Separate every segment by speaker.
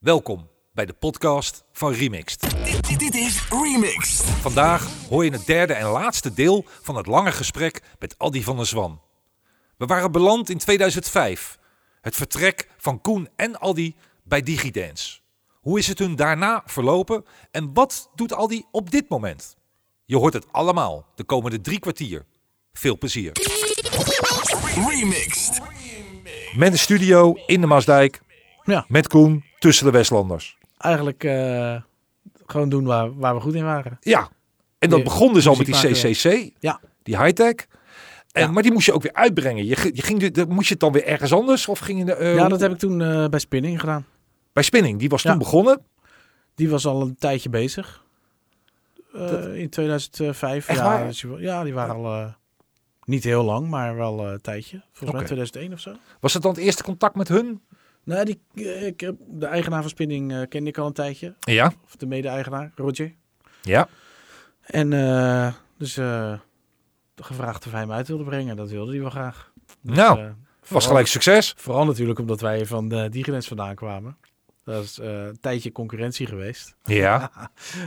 Speaker 1: Welkom bij de podcast van Remixed.
Speaker 2: Dit, dit, dit is Remixed.
Speaker 1: Vandaag hoor je het derde en laatste deel van het lange gesprek met Addy van der Zwan. We waren beland in 2005. Het vertrek van Koen en Addy bij DigiDance. Hoe is het hun daarna verlopen en wat doet Aldi op dit moment? Je hoort het allemaal de komende drie kwartier. Veel plezier.
Speaker 2: Remixed.
Speaker 1: Met de studio in de Maasdijk.
Speaker 3: Ja.
Speaker 1: Met Koen tussen de Westlanders.
Speaker 3: eigenlijk eh, gewoon doen waar, waar we goed in waren.
Speaker 1: Ja. En dat
Speaker 3: Ja,
Speaker 1: begon dus al met die
Speaker 3: muziek maken,
Speaker 1: CCC,
Speaker 3: Ja.
Speaker 1: die high-tech. En,
Speaker 3: Ja.
Speaker 1: Maar die moest je ook weer uitbrengen. Je, ge- je ging, de- de- moest je het dan weer ergens anders? Of ging je de, eh,
Speaker 3: ja, dat heb ik toen eh, bij Spinning gedaan.
Speaker 1: bij Spinning? Die was toen
Speaker 3: Ja.
Speaker 1: begonnen.
Speaker 3: Die was al een tijdje bezig. Eh, in 2005.
Speaker 1: Echt
Speaker 3: ja,
Speaker 1: waar?
Speaker 3: dus je- ja, die waren al eh, niet heel lang, maar wel eh, een tijdje. Volgens
Speaker 1: Oké.
Speaker 3: mij 2001 of zo.
Speaker 1: Was dat dan het eerste contact met hun?
Speaker 3: Nou, die, eh, ik, heb- de eigenaar van Spinning eh, kende ik al een tijdje.
Speaker 1: Ja.
Speaker 3: Of de mede-eigenaar, Roger.
Speaker 1: Ja.
Speaker 3: En eh, dus eh, gevraagd of hij hem uit wilde brengen. Dat wilde hij wel graag. Dus,
Speaker 1: Nou,
Speaker 3: eh,
Speaker 1: was
Speaker 3: vooral-
Speaker 1: gelijk succes.
Speaker 3: Vooral natuurlijk omdat wij van de DigiLens vandaan kwamen. Dat is eh, een tijdje concurrentie geweest.
Speaker 1: Ja.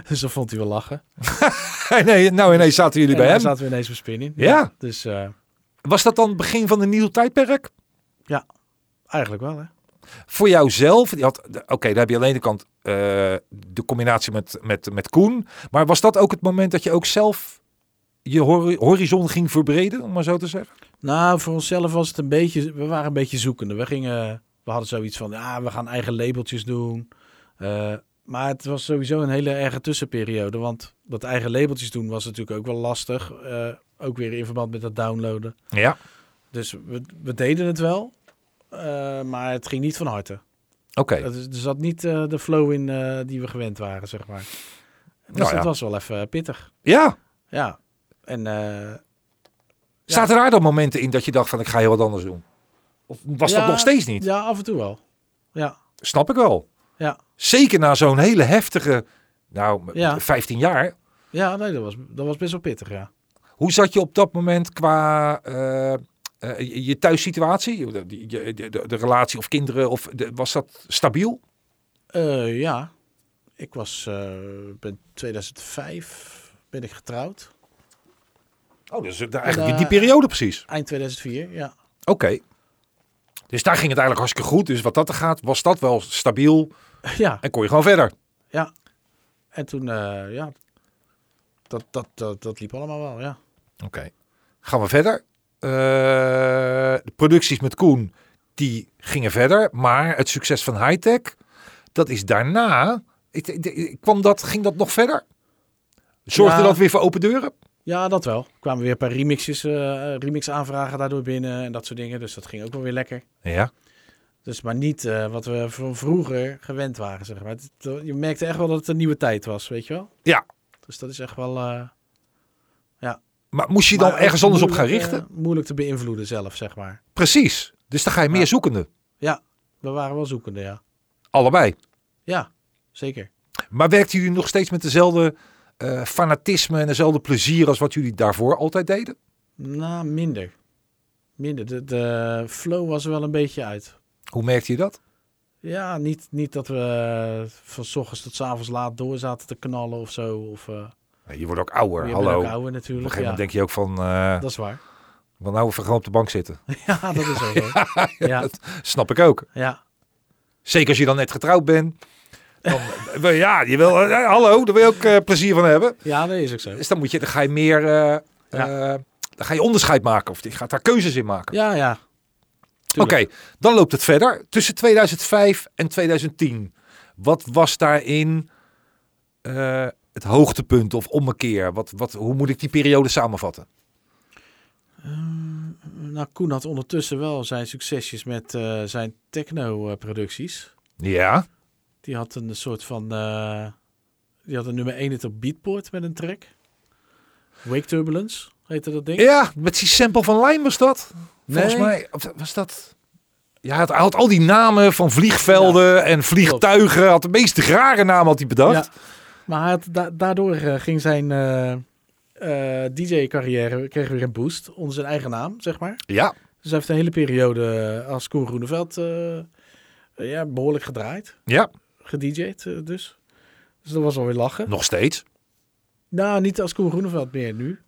Speaker 3: Dus dan vond hij wel lachen.
Speaker 1: nee, nou ineens zaten jullie
Speaker 3: en
Speaker 1: bij
Speaker 3: dan
Speaker 1: hem.
Speaker 3: zaten we ineens bij Spinning.
Speaker 1: Ja.
Speaker 3: Dus eh,
Speaker 1: Was dat dan het begin van een nieuw tijdperk?
Speaker 3: eigenlijk wel, hè?
Speaker 1: Voor jouzelf? Je had- Oké, daar heb je aan de ene kant eh, de combinatie met, met, met Koen. Maar was dat ook het moment dat je ook zelf je hori- horizon ging verbreden, om maar zo te zeggen?
Speaker 3: Nou, voor onszelf was het een beetje... We waren een beetje zoekende. We gingen... We hadden zoiets van, ja, we gaan eigen labeltjes doen. Eh, maar het was sowieso een hele erge tussenperiode. Want dat eigen labeltjes doen was natuurlijk ook wel lastig. eh, ook weer in verband met dat downloaden.
Speaker 1: Ja.
Speaker 3: Dus we, we deden het wel. eh, maar het ging niet van harte.
Speaker 1: Oké.
Speaker 3: Dat is, er zat niet eh, de flow in eh, die we gewend waren, zeg maar. Dus
Speaker 1: Nou ja.
Speaker 3: dat was wel even pittig.
Speaker 1: Ja.
Speaker 3: Ja. En eh,
Speaker 1: Zaten er dan momenten in dat je dacht van ik ga heel wat anders doen? Of was dat
Speaker 3: Ja,
Speaker 1: nog steeds niet?
Speaker 3: ja, af en toe wel. Ja,
Speaker 1: Snap ik wel.
Speaker 3: Ja.
Speaker 1: Zeker na zo'n hele heftige, nou,
Speaker 3: Ja.
Speaker 1: 15 jaar.
Speaker 3: ja nee, dat was, dat was best wel pittig, ja.
Speaker 1: Hoe zat je op dat moment qua eh, eh, je- je thuissituatie? Je- je- De, de, de relatie of kinderen? Of de- was dat stabiel?
Speaker 3: Eh, ja, ik was eh, ben 2005 ben ik getrouwd.
Speaker 1: Oh, dus eigenlijk
Speaker 3: eigenlijk
Speaker 1: in
Speaker 3: in
Speaker 1: die
Speaker 3: die
Speaker 1: periode precies.
Speaker 3: Eind 2004, ja.
Speaker 1: Oké. Dus daar ging het eigenlijk hartstikke goed. Dus wat dat er gaat, was dat wel stabiel
Speaker 3: ja.
Speaker 1: en kon je gewoon verder.
Speaker 3: En toen, eh, ja, dat, dat, dat, dat liep allemaal wel, ja.
Speaker 1: Oké. Gaan we verder. Eh, de producties met Koen, die gingen verder. Maar het succes van Hightech, dat is daarna... Ik, ik- ik- kwam dat, ging dat nog verder? Zorgde
Speaker 3: Ja.
Speaker 1: dat weer voor open deuren?
Speaker 3: Ja, dat wel. Kwamen weer een paar remixes, eh remix aanvragen daardoor binnen en dat soort dingen. Dus dat ging ook wel weer lekker.
Speaker 1: Ja.
Speaker 3: Dus maar niet eh, wat we van vroeger gewend waren, zeg maar. Het- het- je merkte echt wel dat het een nieuwe tijd was, weet je wel?
Speaker 1: Ja.
Speaker 3: Dus dat is echt wel... eh,
Speaker 1: Maar moest je dan
Speaker 3: maar ook
Speaker 1: ergens anders op gaan
Speaker 3: moeilijk,
Speaker 1: richten?
Speaker 3: eh, moeilijk te beïnvloeden zelf, zeg maar.
Speaker 1: Precies. Dus dan ga je meer
Speaker 3: Ja.
Speaker 1: zoekende.
Speaker 3: We waren wel zoekende, ja.
Speaker 1: Allebei.
Speaker 3: Ja, zeker.
Speaker 1: Maar werkten jullie nog steeds met dezelfde eh, fanatisme en dezelfde plezier als wat jullie daarvoor altijd deden?
Speaker 3: Nou, minder. Minder. De, de flow was er wel een beetje uit.
Speaker 1: Hoe merkte je dat?
Speaker 3: Ja, niet, niet dat we eh, van s ochtends tot s avonds laat door zaten te knallen of zo. Of, eh,
Speaker 1: Je wordt ook ouder.
Speaker 3: je bent
Speaker 1: Hallo.
Speaker 3: ook
Speaker 1: Op
Speaker 3: ouder
Speaker 1: een
Speaker 3: natuurlijk.
Speaker 1: gegeven
Speaker 3: Ja,
Speaker 1: moment denk je ook van, eh
Speaker 3: dat is waar.
Speaker 1: wat nou even gewoon op de bank zitten.
Speaker 3: Ja, dat is ook zo. Ja,
Speaker 1: dat snap ik ook.
Speaker 3: ja.
Speaker 1: Zeker als je dan net getrouwd bent. Dan, eh, ja, je wil, eh, hallo, daar wil je ook eh, plezier van hebben.
Speaker 3: ja, dat is ook zo.
Speaker 1: Dus dan, moet je, dan ga je meer, eh, eh, dan ga je onderscheid maken. Of je gaat daar keuzes in maken.
Speaker 3: Ja, ja.
Speaker 1: Oké,
Speaker 3: Tuurlijk.
Speaker 1: dan loopt het verder. Tussen 2005 en 2010. Wat was daarin eh, het hoogtepunt of ommekeer? Wat, wat, hoe moet ik die periode samenvatten?
Speaker 3: Nou, Koen had ondertussen wel zijn succesjes met eh, zijn techno-producties.
Speaker 1: Ja,
Speaker 3: Die had een soort van... eh, die had een nummer 1 hit op Beatport met een track. Wake Turbulence heette dat ding.
Speaker 1: ja met die sample van Lijn was dat. Volgens
Speaker 3: Nee.
Speaker 1: mij of was dat... Ja, hij had, hij had al die namen van vliegvelden en vliegtuigen. Had de meest rare naam had hij bedacht.
Speaker 3: Ja. Maar hij had, da- daardoor eh, ging zijn DJ-carrière kreeg weer een boost. Onder zijn eigen naam, zeg maar.
Speaker 1: Ja,
Speaker 3: Dus hij heeft een hele periode eh, als Koen Groeneveld eh, ja, behoorlijk gedraaid.
Speaker 1: ja.
Speaker 3: gedj'd eh, dus. Dus dat was alweer lachen.
Speaker 1: Nog steeds.
Speaker 3: Nou, niet als Koen Groeneveld meer nu.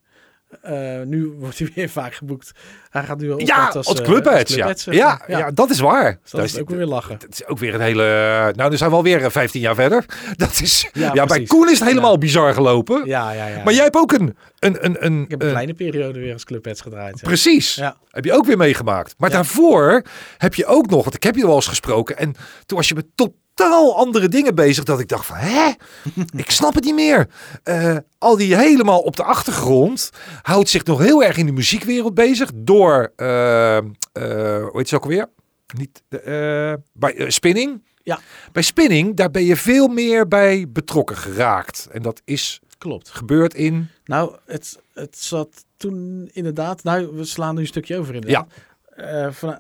Speaker 3: Eh, nu wordt hij weer vaak geboekt. Hij gaat nu al
Speaker 1: Ja,
Speaker 3: optreden
Speaker 1: als, clubheads.
Speaker 3: eh,
Speaker 1: Ja.
Speaker 3: als clubheads, zeg
Speaker 1: Ja,
Speaker 3: maar.
Speaker 1: ja. dat is waar.
Speaker 3: Dus
Speaker 1: Daar
Speaker 3: dat
Speaker 1: is-
Speaker 3: is ook weer lachen.
Speaker 1: Het is ook weer een hele. Nou, nu zijn we alweer eh, 15 jaar verder. Dat is. Ja,
Speaker 3: Ja,
Speaker 1: bij
Speaker 3: precies.
Speaker 1: Koen is het helemaal bizar gelopen.
Speaker 3: Ja, ja, ja.
Speaker 1: Maar jij hebt ook een. een, een, een
Speaker 3: Ik heb een
Speaker 1: eh,
Speaker 3: kleine periode weer als clubheads gedraaid. ja.
Speaker 1: Precies.
Speaker 3: Ja.
Speaker 1: Heb je ook weer meegemaakt. Maar
Speaker 3: Ja.
Speaker 1: daarvoor heb je ook nog. Want ik heb je wel eens gesproken. En toen was je met totaal andere dingen bezig. Dat ik dacht van. Hè? ik snap het niet meer. Eh, al die helemaal op de achtergrond. Houdt zich nog heel erg in de muziekwereld bezig. Door. eh, eh, hoe heet ze ook alweer? Niet, de, eh, bij eh, Spinning.
Speaker 3: Ja.
Speaker 1: Bij Spinning, daar ben je veel meer bij betrokken geraakt. En dat is
Speaker 3: Klopt.
Speaker 1: gebeurd in.
Speaker 3: Nou, het, het zat toen inderdaad... Nou, we slaan nu een stukje over inderdaad. Eh, van,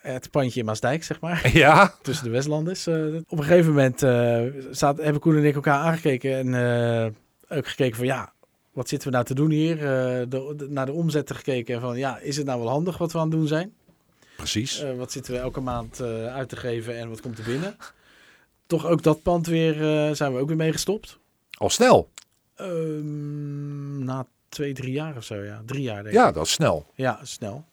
Speaker 3: het pandje in Maasdijk, zeg maar.
Speaker 1: Ja.
Speaker 3: tussen de Westlanders. eh. op een gegeven moment eh, staat, hebben Koen en ik elkaar aangekeken en eh, ook gekeken van ja, wat zitten we nou te doen hier? Eh, de, de- naar de omzetten gekeken en van ja, is het nou wel handig wat we aan het doen zijn?
Speaker 1: Precies.
Speaker 3: Eh, wat zitten we elke maand eh, uit te geven en wat komt er binnen? Toch ook dat pand weer, eh, zijn we ook weer mee gestopt.
Speaker 1: Al snel.
Speaker 3: Ehm, na twee, drie jaar of zo, ja. Drie jaar denk ik.
Speaker 1: Ja, dat is snel.
Speaker 3: Ja, snel.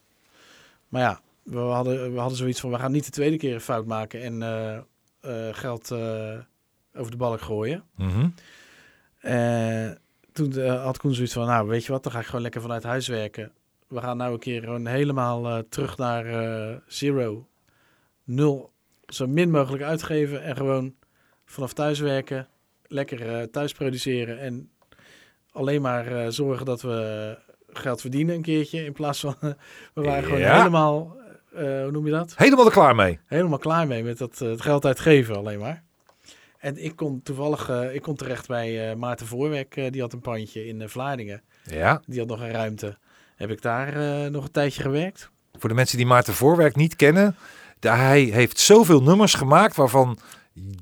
Speaker 3: Maar ja, we hadden, we hadden zoiets van, we gaan niet de tweede keer een fout maken en eh, eh, geld eh, over de balk gooien.
Speaker 1: Mhm.
Speaker 3: Eh, toen eh, had Koen zoiets van, nou weet je wat, dan ga ik gewoon lekker vanuit huis werken. We gaan nou een keer gewoon helemaal eh, terug naar eh, zero. Nul, zo min mogelijk uitgeven en gewoon vanaf thuis werken. Lekker eh, thuis produceren en alleen maar eh, zorgen dat we eh, geld verdienen een keertje. In plaats van, eh, we waren
Speaker 1: Ja.
Speaker 3: gewoon helemaal, eh, hoe noem je dat?
Speaker 1: Helemaal er klaar mee.
Speaker 3: helemaal klaar mee met dat eh, het geld uitgeven alleen maar. En ik kon toevallig, eh, ik kon terecht bij eh, Maarten Voorwerk, eh, die had een pandje in eh, Vlaardingen.
Speaker 1: Ja.
Speaker 3: Die had nog een ruimte. Heb ik daar eh, nog een tijdje gewerkt?
Speaker 1: Voor de mensen die Maarten Voorwerk niet kennen. de- hij heeft zoveel nummers gemaakt waarvan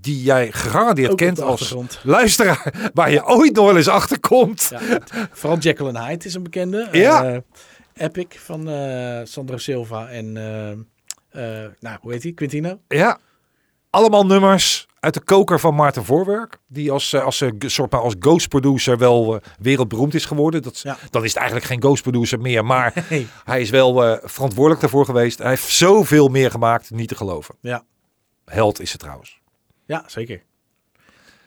Speaker 1: die jij gegarandeerd
Speaker 3: op
Speaker 1: kent
Speaker 3: de
Speaker 1: als
Speaker 3: achtergrond.
Speaker 1: luisteraar. Waar je ooit nog wel eens achter komt.
Speaker 3: Ja, vooral Jekyll and Hyde is een bekende.
Speaker 1: Ja.
Speaker 3: Eh, Epic van eh, Sandro Silva en, eh, eh, nou, hoe heet hij? Quintino.
Speaker 1: Ja. Allemaal nummers uit de koker van Maarten Voorwerk. Die als, eh, als, eh, g- soort van als ghost producer wel eh, wereldberoemd is geworden. Dat, is-
Speaker 3: Ja.
Speaker 1: Dan is het eigenlijk geen ghost producer meer. Maar
Speaker 3: Hey.
Speaker 1: hij is wel eh, verantwoordelijk daarvoor geweest. Hij heeft zoveel meer gemaakt, niet te geloven.
Speaker 3: Ja.
Speaker 1: Held is het trouwens.
Speaker 3: Ja, zeker.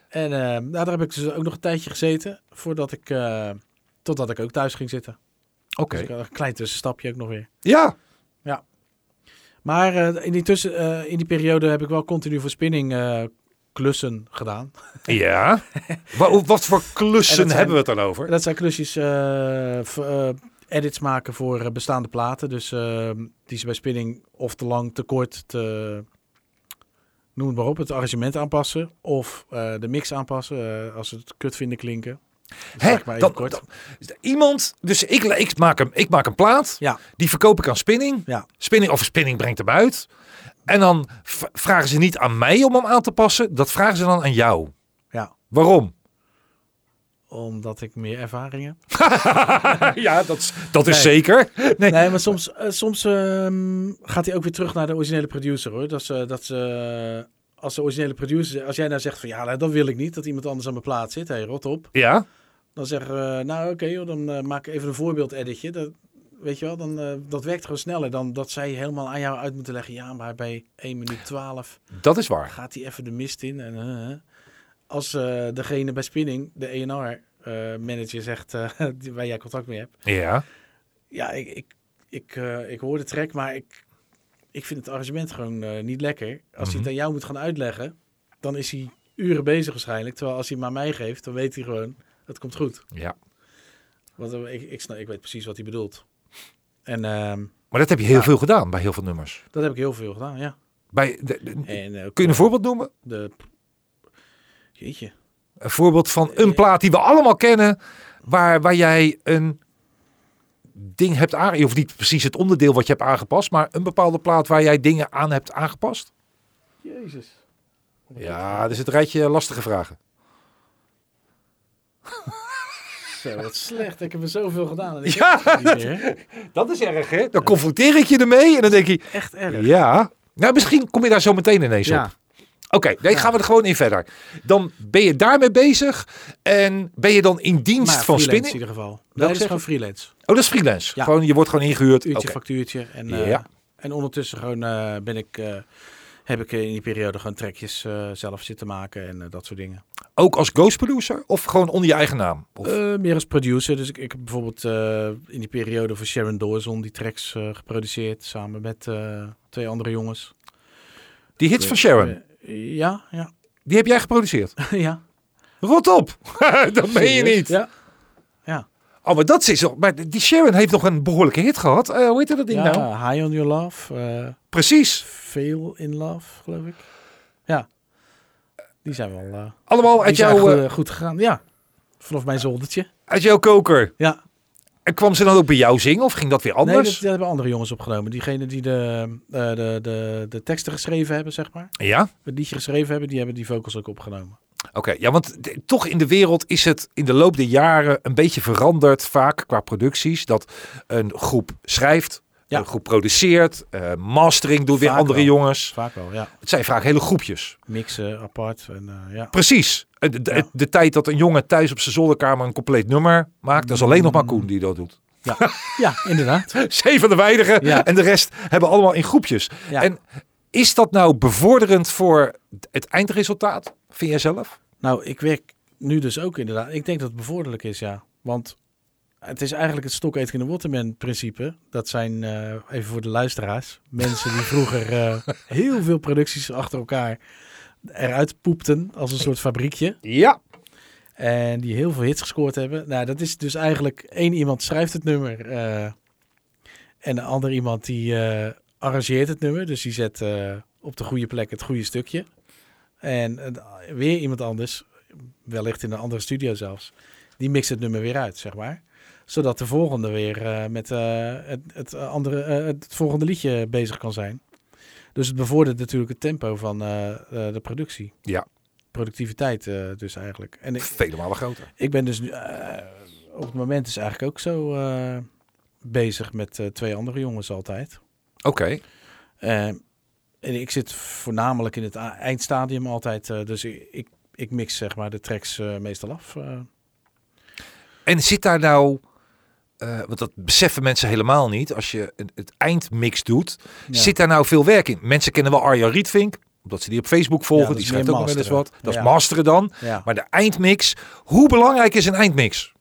Speaker 3: En eh, nou, daar heb ik dus ook nog een tijdje gezeten voordat ik, eh, totdat ik ook thuis ging zitten.
Speaker 1: Oké.
Speaker 3: Dus ik had een klein tussenstapje ook nog weer.
Speaker 1: Ja.
Speaker 3: Maar eh, in, die tussen, eh, in die periode heb ik wel continu voor spinning eh, klussen gedaan.
Speaker 1: Ja. wat, wat voor klussen
Speaker 3: En dat zijn-
Speaker 1: hebben we het dan over?
Speaker 3: Dat zijn klusjes, eh, v- eh, edits maken voor eh, bestaande platen. Dus eh, die ze bij spinning of te lang, te kort, te... Noem het maar op, het arrangement aanpassen. Of eh, de mix aanpassen eh, als ze het kut vinden klinken.
Speaker 1: Hè,
Speaker 3: zeg maar even
Speaker 1: dan-
Speaker 3: kort.
Speaker 1: dan- iemand, dus ik, ik, maak hem, ik maak een plaat,
Speaker 3: Ja.
Speaker 1: die verkoop ik aan Spinning.
Speaker 3: Ja.
Speaker 1: Spinning of Spinning brengt hem uit. En dan v- vragen ze niet aan mij om hem aan te passen, dat vragen ze dan aan jou.
Speaker 3: Ja,
Speaker 1: Waarom?
Speaker 3: omdat ik meer ervaring heb.
Speaker 1: ja, dat, is- dat is
Speaker 3: Nee.
Speaker 1: zeker. Nee.
Speaker 3: Nee, maar soms, eh, soms ehm, gaat hij ook weer terug naar de originele producer hoor. Dat ze, dat ze, als de originele producer, als jij nou zegt van ja, nou, dat wil ik niet, dat iemand anders aan mijn plaats zit, hé, rot op.
Speaker 1: Ja,
Speaker 3: Dan zeggen we, nou oké, joh, dan eh, maak ik even een voorbeeld editje. Dat, weet je wel, dan, eh, dat werkt gewoon sneller dan dat zij helemaal aan jou uit moeten leggen. Ja, maar bij 1 minuut 12
Speaker 1: dat is waar.
Speaker 3: gaat hij even de mist in. En, eh, eh. als eh, degene bij Spinning, de ENR eh manager zegt, eh, die- waar jij contact mee hebt.
Speaker 1: Ja.
Speaker 3: Ja, ik, ik, ik, eh, ik hoor de track, maar ik, ik vind het arrangement gewoon eh, niet lekker. Als hij het
Speaker 1: Mhm.
Speaker 3: aan jou moet gaan uitleggen, dan is hij uren bezig waarschijnlijk. Terwijl als hij het maar mij geeft, dan weet hij gewoon, het komt goed.
Speaker 1: ja.
Speaker 3: Want eh, ik, ik, snap, ik weet precies wat hij bedoelt. En ehm,
Speaker 1: Maar dat heb je heel
Speaker 3: Ja.
Speaker 1: veel gedaan bij heel veel nummers.
Speaker 3: dat heb ik heel veel gedaan, ja.
Speaker 1: Bij, de- de-
Speaker 3: En, eh,
Speaker 1: kun je een voorbeeld noemen?
Speaker 3: de... Jeetje.
Speaker 1: Een voorbeeld van een plaat die we allemaal kennen, waar, waar jij een ding hebt aangepast. Of niet precies het onderdeel wat je hebt aangepast, maar een bepaalde plaat waar jij dingen aan hebt aangepast.
Speaker 3: Jezus.
Speaker 1: Ja, er zit een rijtje lastige vragen.
Speaker 3: Zo, wat slecht. Ik heb er zoveel gedaan. En ik
Speaker 1: Ja.
Speaker 3: heb het niet meer.
Speaker 1: Dat is erg, hè? Dan confronteer ik je ermee en dan denk je,
Speaker 3: Echt erg.
Speaker 1: ja. Nou, misschien kom je daar zo meteen ineens
Speaker 3: Ja.
Speaker 1: op. Oké, nee, gaan we er gewoon in verder. Dan ben je daarmee bezig en ben je dan in dienst
Speaker 3: Maar
Speaker 1: van
Speaker 3: freelance in
Speaker 1: spinning.
Speaker 3: ieder geval.
Speaker 1: Welk
Speaker 3: Dat is
Speaker 1: zeg
Speaker 3: gewoon freelance.
Speaker 1: Oh, dat is freelance.
Speaker 3: Ja.
Speaker 1: Gewoon, je wordt gewoon ingehuurd.
Speaker 3: Uurtje,
Speaker 1: Oké.
Speaker 3: factuurtje. En, eh,
Speaker 1: Ja.
Speaker 3: en ondertussen gewoon eh, ben ik, eh, heb ik in die periode gewoon trekjes eh, zelf zitten maken en eh, dat soort dingen.
Speaker 1: Ook als ghost producer of gewoon onder je eigen naam? Of-
Speaker 3: Eh, meer als producer. Dus ik, ik heb bijvoorbeeld eh, in die periode voor Sharon Dawson die tracks eh, geproduceerd. Samen met eh, twee andere jongens.
Speaker 1: die hits van Sharon,
Speaker 3: Eh, ja, ja.
Speaker 1: die heb jij geproduceerd.
Speaker 3: ja.
Speaker 1: Rot op! dat meen je
Speaker 3: Serieus?
Speaker 1: niet.
Speaker 3: Ja.
Speaker 1: Oh, maar dat is... Maar die Sharon heeft nog een behoorlijke hit gehad. Eh, hoe heette dat ding
Speaker 3: ja,
Speaker 1: nou?
Speaker 3: High on Your Love. eh
Speaker 1: Precies.
Speaker 3: Fail in Love, geloof ik. Ja. Die zijn wel eh,
Speaker 1: Allemaal
Speaker 3: die
Speaker 1: uit,
Speaker 3: zijn
Speaker 1: jouw,
Speaker 3: goed,
Speaker 1: eh,
Speaker 3: eh, goed gegaan. Ja. Vanaf mijn zoldertje.
Speaker 1: uit jouw koker.
Speaker 3: Ja.
Speaker 1: En kwam ze dan ook bij jou zingen of ging dat weer
Speaker 3: Nee, dat,
Speaker 1: anders?
Speaker 3: dat hebben andere jongens opgenomen. Diegenen die de, eh, de, de, de teksten geschreven hebben, zeg maar.
Speaker 1: Ja?
Speaker 3: Het liedje geschreven hebben, die hebben die vocals ook opgenomen.
Speaker 1: Oké, ja, want de- toch in de wereld is het in de loop der jaren een beetje veranderd vaak qua producties. Dat een groep schrijft,
Speaker 3: Ja.
Speaker 1: een groep produceert, eh, mastering doet weer
Speaker 3: Vaak
Speaker 1: andere
Speaker 3: wel.
Speaker 1: jongens.
Speaker 3: Vaak wel, ja.
Speaker 1: Het zijn vaak hele groepjes.
Speaker 3: Mixen apart. En, eh, ja.
Speaker 1: Precies. Eh, De, de-
Speaker 3: Ja.
Speaker 1: de tijd dat een jongen thuis op zijn zolderkamer een compleet nummer maakt, dat is alleen nog maar Koen die dat doet.
Speaker 3: ja, inderdaad.
Speaker 1: Zeven de weinigen
Speaker 3: Ja.
Speaker 1: en de rest hebben allemaal in groepjes.
Speaker 3: Ja.
Speaker 1: En is dat nou bevorderend voor het eindresultaat? Vind jij zelf?
Speaker 3: Nou, ik werk nu dus ook inderdaad. Ik denk dat het bevorderlijk is, ja. Want het is eigenlijk het stok in de waterman principe. Dat zijn, eh, even voor de luisteraars, mensen die vroeger eh, heel veel producties achter elkaar eruit poepten als een soort fabriekje.
Speaker 1: Ja.
Speaker 3: En die heel veel hits gescoord hebben. Nou, dat is dus eigenlijk één iemand schrijft het nummer. eh, en de ander iemand die eh, arrangeert het nummer. Dus die zet eh, op de goede plek het goede stukje. En eh, weer iemand anders, wellicht in een andere studio zelfs, die mixt het nummer weer uit, zeg maar. Zodat de volgende weer eh, met eh, het, het, andere, eh, het volgende liedje bezig kan zijn. Dus het bevordert natuurlijk het tempo van eh, eh, de productie.
Speaker 1: Ja.
Speaker 3: Productiviteit eh, dus eigenlijk. En ik,
Speaker 1: Vele malen groter.
Speaker 3: ik ben dus nu, eh, op het moment is eigenlijk ook zo eh, bezig met eh, twee andere jongens altijd.
Speaker 1: Oké.
Speaker 3: Eh, en ik zit voornamelijk in het a- eindstadium altijd, eh, dus ik, ik, ik mix zeg maar de tracks eh, meestal af. eh.
Speaker 1: En zit daar nou, eh, want dat beseffen mensen helemaal niet, als je het- het eindmix doet,
Speaker 3: Ja.
Speaker 1: zit daar nou veel werk in? Mensen kennen wel Arjan Rietvink, omdat ze die op Facebook
Speaker 3: Ja,
Speaker 1: volgen,
Speaker 3: dat
Speaker 1: die
Speaker 3: is
Speaker 1: schrijft ook
Speaker 3: meer
Speaker 1: nog wel eens wat.
Speaker 3: masteren.
Speaker 1: Dat
Speaker 3: Ja.
Speaker 1: is masteren dan.
Speaker 3: ja.
Speaker 1: Maar de eindmix, hoe belangrijk is een eindmix?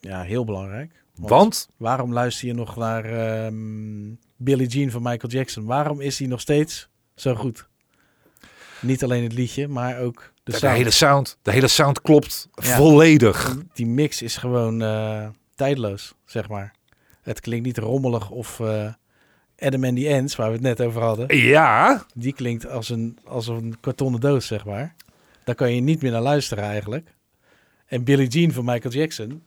Speaker 3: ja, heel belangrijk.
Speaker 1: Want,
Speaker 3: waarom luister je nog naar ehm Billie Jean van Michael Jackson? Waarom is hij nog steeds zo goed? Niet alleen het liedje, maar ook de,
Speaker 1: de,
Speaker 3: sound.
Speaker 1: hele sound, de hele sound klopt
Speaker 3: Ja.
Speaker 1: volledig.
Speaker 3: die mix is gewoon eh, tijdloos, zeg maar. Het klinkt niet rommelig of eh, Adam and the Ants, waar we het net over hadden.
Speaker 1: Ja,
Speaker 3: Die klinkt als een, als een kartonnen doos, zeg maar. Daar kan je niet meer naar luisteren eigenlijk. En Billie Jean van Michael Jackson,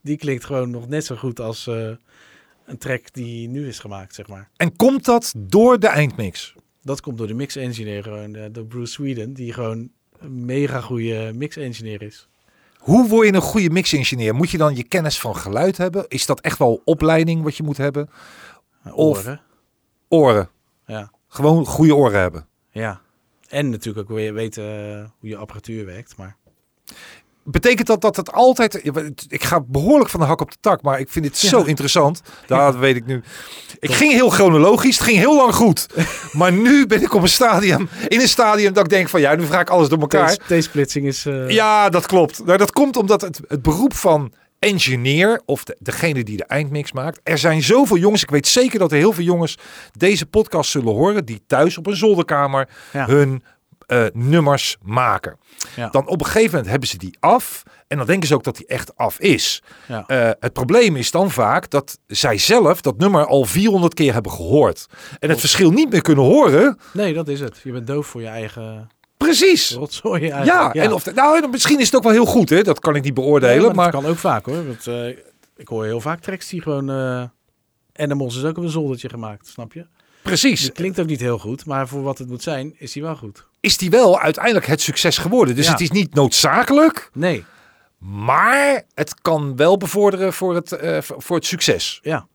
Speaker 3: die klinkt gewoon nog net zo goed als eh, een track die nu is gemaakt, zeg maar.
Speaker 1: en komt dat door de eindmix?
Speaker 3: Dat komt door de mix engineer, gewoon eh, door Bruce Sweden, die gewoon een mega goede mix engineer is.
Speaker 1: Hoe word je een goede mix-engineer? Moet je dan je kennis van geluid hebben? Is dat echt wel opleiding wat je moet hebben? Of-
Speaker 3: Oren,
Speaker 1: Oren.
Speaker 3: ja.
Speaker 1: Gewoon goede oren hebben.
Speaker 3: Ja. En natuurlijk ook weer weten eh, hoe je apparatuur werkt. Maar
Speaker 1: Betekent dat dat het altijd... Ik ga behoorlijk van de hak op de tak, maar ik vind dit zo
Speaker 3: Ja.
Speaker 1: interessant. Daar weet ik nu. Ik ging heel chronologisch, het ging heel lang goed. maar nu ben ik op een stadium, in een stadium dat ik denk van... Ja, nu vraag ik alles door elkaar.
Speaker 3: deze splitsing is. eh,
Speaker 1: Ja, dat klopt. Nou, dat komt omdat het, het beroep van engineer, of de- degene die de eindmix maakt... Er zijn zoveel jongens, ik weet zeker dat er heel veel jongens deze podcast zullen horen... die thuis op een zolderkamer
Speaker 3: Ja.
Speaker 1: hun eh, nummers maken.
Speaker 3: Ja.
Speaker 1: Dan op een gegeven moment hebben ze die af. En dan denken ze ook dat die echt af is.
Speaker 3: Ja.
Speaker 1: Eh, het probleem is dan vaak dat zij zelf dat nummer al 400 keer hebben gehoord. En het verschil niet meer kunnen horen.
Speaker 3: Nee, dat is het. Je bent doof voor je eigen
Speaker 1: Precies.
Speaker 3: rotzooi. Eigenlijk.
Speaker 1: Ja, en of, nou, dan misschien is het ook wel heel goed, hè? dat kan ik niet beoordelen.
Speaker 3: Ja,
Speaker 1: maar
Speaker 3: dat kan ook vaak hoor. Want, eh, ik hoor heel vaak tracks die gewoon. eh Animals is ook op een zoldertje gemaakt, snap je?
Speaker 1: precies,
Speaker 3: Die klinkt ook niet heel goed, maar voor wat het moet zijn, is die wel goed.
Speaker 1: is die wel uiteindelijk het succes geworden. Dus
Speaker 3: Ja.
Speaker 1: het is niet noodzakelijk,
Speaker 3: Nee,
Speaker 1: maar het kan wel bevorderen voor het, eh, voor het succes.
Speaker 3: ja.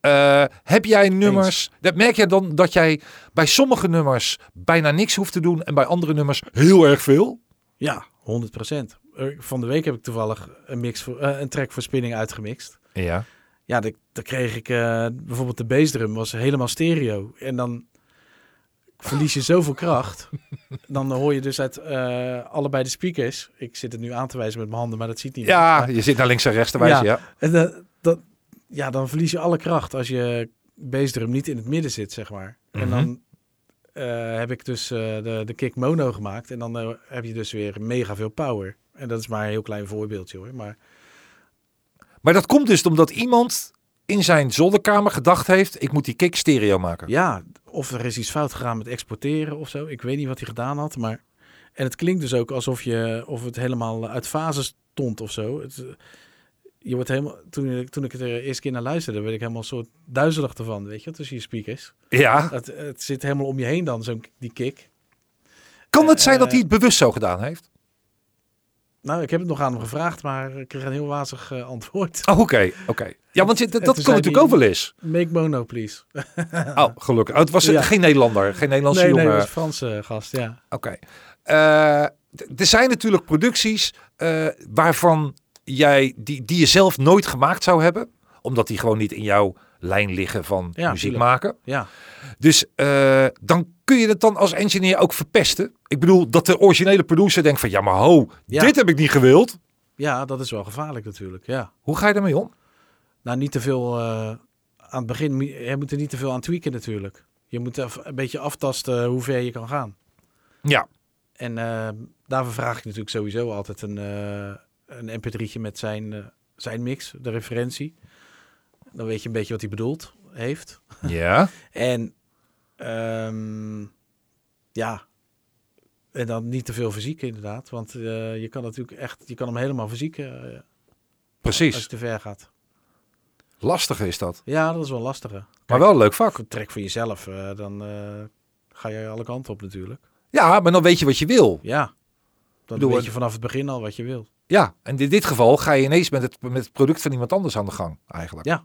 Speaker 1: Eh, heb jij nummers? Dat merk je dan dat jij bij sommige nummers bijna niks hoeft te doen en bij andere nummers heel erg veel?
Speaker 3: Ja, 100 procent. Eh, Van de week heb ik toevallig een, mix voor, eh, een track voor spinning uitgemixt.
Speaker 1: Ja.
Speaker 3: Ja, dan dan kreeg ik eh, bijvoorbeeld de bassdrum was helemaal stereo. En dan verlies je zoveel kracht. Dan hoor je dus uit eh, allebei de speakers. Ik zit het nu aan te wijzen met mijn handen, maar dat ziet niet.
Speaker 1: Ja, je zit naar links en rechts te wijzen. Ja.
Speaker 3: En dat, dat, ja, dan verlies je alle kracht als je bassdrum niet in het midden zit, zeg maar. En dan eh, heb ik dus eh, de, de kick mono gemaakt. En dan eh, heb je dus weer mega veel power. En dat is maar een heel klein voorbeeldje hoor. Maar
Speaker 1: Maar dat komt dus omdat iemand in zijn zolderkamer gedacht heeft: ik moet die kick stereo maken.
Speaker 3: ja, of er is iets fout gegaan met exporteren of zo. Ik weet niet wat hij gedaan had, maar... En het klinkt dus ook alsof je, of het helemaal uit fase stond of zo. Het, eh, je wordt helemaal, toen, ik- toen ik het er eerst keer naar luisterde, werd ik helemaal een soort duizelig ervan, weet je, tussen je speakers.
Speaker 1: Ja.
Speaker 3: Het, het zit helemaal om je heen dan, zo'n die kick.
Speaker 1: Kan het zijn dat
Speaker 3: eh,
Speaker 1: hij het bewust zo gedaan heeft?
Speaker 3: Nou, ik heb het nog aan hem gevraagd, maar ik kreeg een heel wazig eh, antwoord.
Speaker 1: Oh, Oké, oké. Ja, want je- dat,
Speaker 3: en
Speaker 1: dat
Speaker 3: toen
Speaker 1: komt
Speaker 3: zei
Speaker 1: natuurlijk ook
Speaker 3: die-
Speaker 1: wel eens.
Speaker 3: Make mono, please.
Speaker 1: Oh, gelukkig. Oh, het was eh,
Speaker 3: Ja.
Speaker 1: geen Nederlander, geen Nederlandse
Speaker 3: nee, nee,
Speaker 1: jongen.
Speaker 3: dat is een Franse gast, ja.
Speaker 1: Oké. Eh, d- er zijn natuurlijk producties eh, waarvan jij, die, die je zelf nooit gemaakt zou hebben. Omdat die gewoon niet in jouw lijn liggen van
Speaker 3: Ja,
Speaker 1: muziek
Speaker 3: tuurlijk.
Speaker 1: maken.
Speaker 3: Ja,
Speaker 1: Dus eh, dan kun je het dan als engineer ook verpesten. Ik bedoel, dat de originele producer denkt van... Ja, maar ho,
Speaker 3: Ja.
Speaker 1: dit heb ik niet gewild.
Speaker 3: ja dat is wel gevaarlijk natuurlijk, ja.
Speaker 1: Hoe ga je daarmee om?
Speaker 3: Nou, niet te veel eh, aan het begin. moet- Je moet er niet te veel aan tweaken natuurlijk. Je moet af- een beetje aftasten hoe ver je kan gaan.
Speaker 1: Ja,
Speaker 3: En eh, daarvoor vraag ik natuurlijk sowieso altijd een, eh een mp3'tje met zijn, eh, zijn mix, de referentie. Dan weet je een beetje wat hij bedoeld heeft.
Speaker 1: ja.
Speaker 3: En ehm, ja, en dan niet te veel fysiek inderdaad. Want eh, je kan natuurlijk echt, je kan hem helemaal fysiek eh, als je
Speaker 1: precies.
Speaker 3: te ver gaat.
Speaker 1: Lastig is dat.
Speaker 3: Ja, dat is wel lastige.
Speaker 1: Maar wel een leuk vak.
Speaker 3: trek voor jezelf, eh, dan eh, ga je alle kanten op natuurlijk.
Speaker 1: Ja, maar dan weet je wat je wil.
Speaker 3: Ja, dan
Speaker 1: Bedoel,
Speaker 3: weet je vanaf het begin al wat je wil.
Speaker 1: Ja, en in dit geval ga je ineens met het, met het product van iemand anders aan de gang, eigenlijk.
Speaker 3: Ja.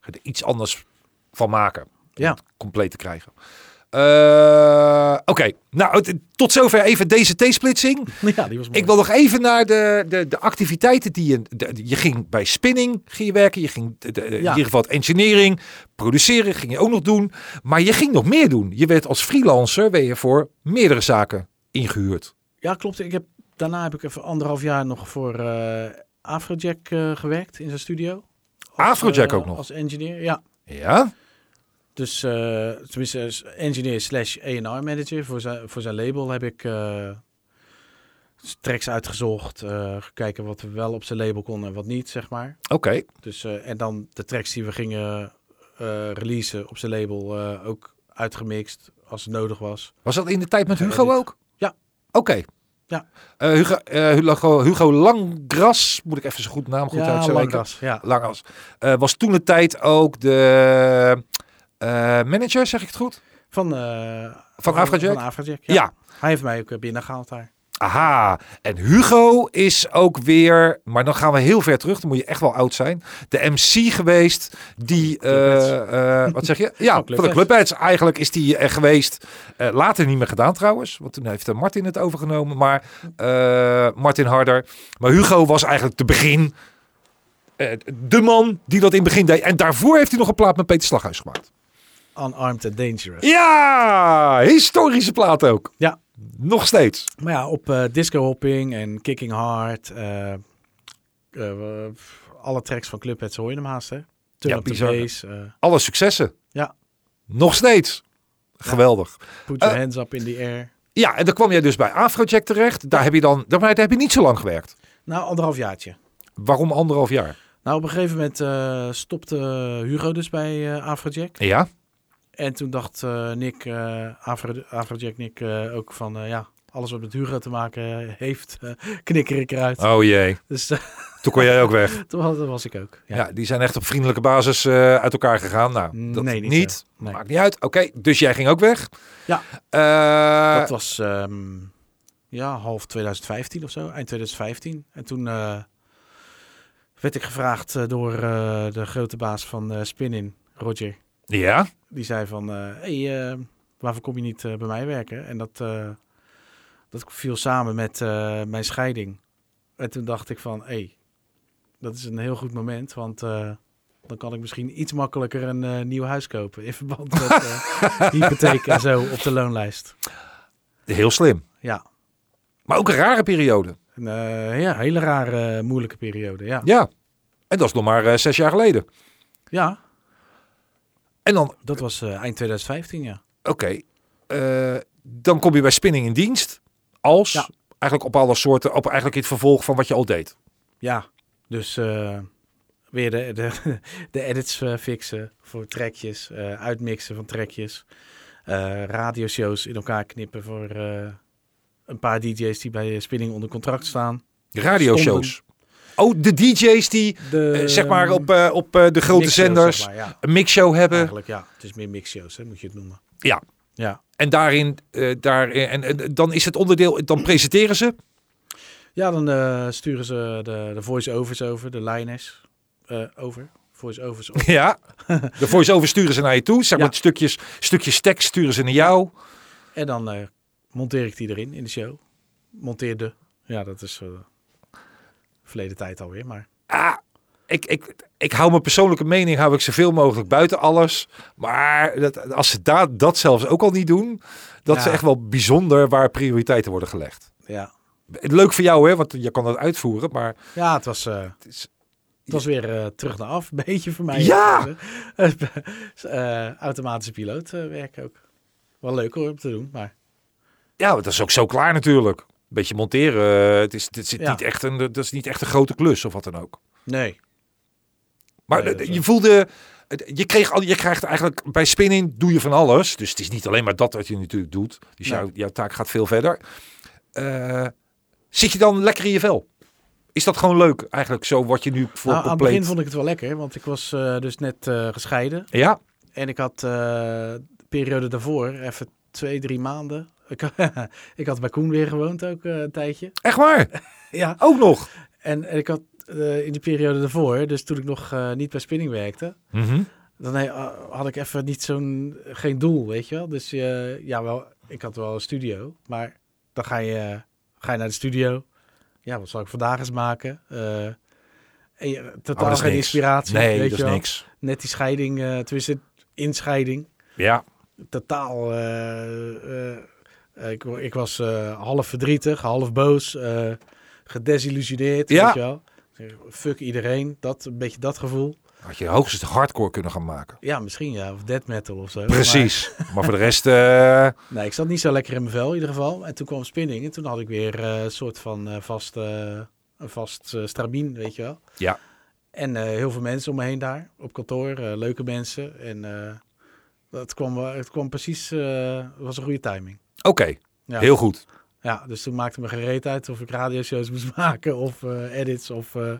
Speaker 1: Ga je er iets anders van maken. Om
Speaker 3: Ja.
Speaker 1: het compleet te krijgen. Eh, Oké, nou, het- tot zover even deze T-splitsing.
Speaker 3: Ja, die was mooi.
Speaker 1: Ik wil nog even naar de, de, de activiteiten die je... de- je ging bij spinning ging je werken. Je ging de- de- in
Speaker 3: Ja.
Speaker 1: ieder geval het engineering. Produceren ging je ook nog doen. Maar je ging nog meer doen. Je werd als freelancer ben je voor meerdere zaken ingehuurd.
Speaker 3: Ja, klopt. Ik heb, daarna heb ik even anderhalf jaar nog voor eh, Afrojack eh, gewerkt in zijn studio. Als,
Speaker 1: Afrojack
Speaker 3: eh,
Speaker 1: ook nog?
Speaker 3: Als engineer, ja.
Speaker 1: Ja?
Speaker 3: Dus eh, tenminste, als engineer slash A&R manager. Voor zijn, voor zijn label heb ik eh, tracks uitgezocht. eh kijken wat we wel op zijn label konden en wat niet, zeg maar.
Speaker 1: Oké.
Speaker 3: Dus, eh, en dan de tracks die we gingen eh releasen op zijn label eh, ook uitgemixt als het nodig was.
Speaker 1: Was dat in de tijd met
Speaker 3: Ja,
Speaker 1: Hugo
Speaker 3: dit.
Speaker 1: ook?
Speaker 3: Ja.
Speaker 1: Oké.
Speaker 3: Ja.
Speaker 1: Eh, Hugo, eh, Hugo, Hugo Langras, moet ik even zijn goed naam goed uitspreken.
Speaker 3: Langras, ja.
Speaker 1: Langras. Eh, was toen de tijd ook de eh, manager, zeg ik het goed?
Speaker 3: Van, eh
Speaker 1: Van Afrojack?
Speaker 3: Van Afrojack,
Speaker 1: Ja.
Speaker 3: ja. Hij heeft mij ook eh, binnengehaald daar.
Speaker 1: Aha. En Hugo is ook weer, maar dan gaan we heel ver terug, dan moet je echt wel oud zijn. De MC geweest, die,
Speaker 3: Clubheads.
Speaker 1: eh, eh, wat zeg je? Ja,
Speaker 3: Van
Speaker 1: van, de
Speaker 3: Clubheads.
Speaker 1: Clubheads eigenlijk is die er geweest. Eh, later niet meer gedaan trouwens, want toen heeft eh, Martin het overgenomen. Maar eh, Martin Harder. Maar Hugo was eigenlijk de begin, eh, de man die dat in het begin deed. En daarvoor heeft hij nog een plaat met Peter Slaghuis gemaakt.
Speaker 3: Unarmed and Dangerous.
Speaker 1: Ja, historische plaat ook.
Speaker 3: Ja.
Speaker 1: Nog steeds.
Speaker 3: Maar ja, op eh, disco hopping en kicking hard. eh, eh, we- alle tracks van Clubheads hoor je hem haast, hè? Turn
Speaker 1: Ja,
Speaker 3: up the
Speaker 1: bizar.
Speaker 3: bass, eh,
Speaker 1: alle successen.
Speaker 3: Ja.
Speaker 1: Nog steeds. Geweldig.
Speaker 3: put your
Speaker 1: Eh.
Speaker 3: hands up in the air.
Speaker 1: Ja, en dan kwam jij dus bij Afrojack terecht. Daar heb je dan, daar, maar daar heb je niet zo lang gewerkt.
Speaker 3: Nou, anderhalf jaartje.
Speaker 1: Waarom anderhalf jaar?
Speaker 3: Nou, op een gegeven moment eh, stopte Hugo dus bij eh Afrojack.
Speaker 1: Ja.
Speaker 3: En toen dacht eh, Nick, eh Afro, Afrojack Nick, eh, ook van eh, ja, alles wat met Hugo te maken eh, heeft, eh, knikker ik eruit.
Speaker 1: Oh jee.
Speaker 3: Dus eh,
Speaker 1: Toen kon jij ook weg.
Speaker 3: toen was, dat was ik ook.
Speaker 1: Ja.
Speaker 3: Ja.
Speaker 1: die zijn echt op vriendelijke basis eh, uit elkaar gegaan. Nou, dat
Speaker 3: Nee,
Speaker 1: niet.
Speaker 3: niet zo. Nee.
Speaker 1: Maakt niet uit. Oké, dus jij ging ook weg.
Speaker 3: Ja.
Speaker 1: Eh,
Speaker 3: dat was ehm, ja, half 2015 of zo, eind 2015. En toen eh, werd ik gevraagd eh, door eh, de grote baas van eh Spinin. Roger.
Speaker 1: Ja?
Speaker 3: Die zei van, eh hey, eh, waarvoor kom je niet eh, bij mij werken? En dat, eh, dat viel samen met eh, mijn scheiding. En toen dacht ik van, hé, hey, dat is een heel goed moment, want eh, dan kan ik misschien iets makkelijker een eh, nieuw huis kopen in verband met eh, hypotheek en zo op de loonlijst.
Speaker 1: Heel slim.
Speaker 3: Ja,
Speaker 1: Maar ook een rare periode.
Speaker 3: een eh, ja, hele rare, eh, moeilijke periode. Ja.
Speaker 1: Ja. En dat is nog maar eh, zes jaar geleden.
Speaker 3: ja,
Speaker 1: En dan,
Speaker 3: dat was eh, eind 2015, ja.
Speaker 1: oké, eh, dan kom je bij Spinning in dienst. Als,
Speaker 3: Ja.
Speaker 1: eigenlijk op alle soorten, op eigenlijk in het vervolg van wat je al deed.
Speaker 3: Ja, dus eh, weer de, de, de edits eh, fixen voor trekjes, eh, uitmixen van trekjes, eh radioshows in elkaar knippen voor eh, een paar DJ's die bij eh, Spinning onder contract staan.
Speaker 1: Radioshows. Oh, de DJ's die,
Speaker 3: De,
Speaker 1: eh, zeg maar, op, eh, op eh, de grote
Speaker 3: mixshows,
Speaker 1: zenders
Speaker 3: Ehm, zeg maar, ja,
Speaker 1: een mixshow hebben.
Speaker 3: eigenlijk ja. Het is meer mixshows, hè, moet je het noemen.
Speaker 1: Ja.
Speaker 3: Ja.
Speaker 1: En daarin, eh, daarin en, en dan is het onderdeel, dan presenteren ze.
Speaker 3: Ja, dan eh, sturen ze de, de voice-overs over, de lijners eh, over. Voice-overs op.
Speaker 1: Ja. De voice-over sturen ze naar je toe. Zeg
Speaker 3: Ja.
Speaker 1: maar stukjes, stukjes tekst sturen ze naar jou.
Speaker 3: En dan eh, monteer ik die erin in de show. Monteerde. Ja, dat is eh verleden tijd alweer, maar
Speaker 1: Ah, ik, ik, ik hou mijn persoonlijke mening hou ik zoveel mogelijk buiten alles. Maar dat, als ze daar dat zelfs ook al niet doen, dat
Speaker 3: Ja.
Speaker 1: is echt wel bijzonder waar prioriteiten worden gelegd.
Speaker 3: ja.
Speaker 1: Leuk voor jou, hè, want je kan dat uitvoeren, maar
Speaker 3: Ja, het was, eh,
Speaker 1: het is,
Speaker 3: het was weer eh, terug naar af. Een beetje voor mij.
Speaker 1: Ja!
Speaker 3: Eh, automatische piloot eh, werk ook. Wel leuk hoor om te doen, maar
Speaker 1: ja, dat is ook zo klaar natuurlijk. Beetje monteren, eh, het is, dit zit
Speaker 3: Ja.
Speaker 1: niet echt een, dat is niet echt een grote klus of wat dan ook.
Speaker 3: nee.
Speaker 1: Maar
Speaker 3: Nee,
Speaker 1: eh,
Speaker 3: dat is
Speaker 1: je voelde, het- je, kreeg al, je krijgt eigenlijk bij spinning doe je van alles. Dus het is niet alleen maar dat wat je natuurlijk doet. Dus
Speaker 3: Nee.
Speaker 1: jouw, jouw taak gaat veel verder. Eh, zit je dan lekker in je vel? Is dat gewoon leuk eigenlijk zo wat je nu voor
Speaker 3: Nou, aan het
Speaker 1: compleet-
Speaker 3: begin vond ik het wel lekker, want ik was eh, dus net eh, gescheiden.
Speaker 1: Ja,
Speaker 3: En ik had eh, de periode daarvoor, even twee, drie maanden. Ik, ik had bij Koen weer gewoond ook eh, een tijdje.
Speaker 1: echt waar.
Speaker 3: Ja,
Speaker 1: Ook nog.
Speaker 3: En, en ik had eh, in de periode daarvoor, dus toen ik nog eh, niet bij spinning werkte,
Speaker 1: Mhm.
Speaker 3: dan he- eh, had ik even niet zo'n geen doel, weet je wel. Dus eh, ja, wel, ik had wel een studio, maar dan ga je, eh, ga je naar de studio. Ja, wat zal ik vandaag eens maken? Eh, en je,
Speaker 1: Oh, dat
Speaker 3: totaal
Speaker 1: is
Speaker 3: geen
Speaker 1: niks.
Speaker 3: inspiratie.
Speaker 1: Nee,
Speaker 3: weet
Speaker 1: dat
Speaker 3: je
Speaker 1: is
Speaker 3: wel.
Speaker 1: niks.
Speaker 3: Net die scheiding, eh tenminste inscheiding.
Speaker 1: Ja,
Speaker 3: Totaal. eh, eh, eh, ik, wa- ik was eh, half verdrietig, half boos, eh, gedesillusioneerd.
Speaker 1: Ja.
Speaker 3: Weet je wel? Fuck iedereen, dat, een beetje dat gevoel.
Speaker 1: had je hoogstens hardcore kunnen gaan maken.
Speaker 3: Ja, misschien ja, of death metal of zo.
Speaker 1: Precies. Maar voor de rest, eh,
Speaker 3: Maar, nee, ik zat niet zo lekker in mijn vel in ieder geval. En toen kwam spinning en toen had ik weer eh, een soort van eh, vast, eh, een vast eh, stramien, weet je wel.
Speaker 1: Ja.
Speaker 3: En eh, heel veel mensen om me heen daar, op kantoor, eh, leuke mensen. En eh dat kwam, wel- het kwam precies, eh, het was een goede timing.
Speaker 1: oké,
Speaker 3: Ja.
Speaker 1: heel goed.
Speaker 3: Ja, dus toen maakte me gereed uit of ik radioshows moest maken of eh, edits. Of, eh het,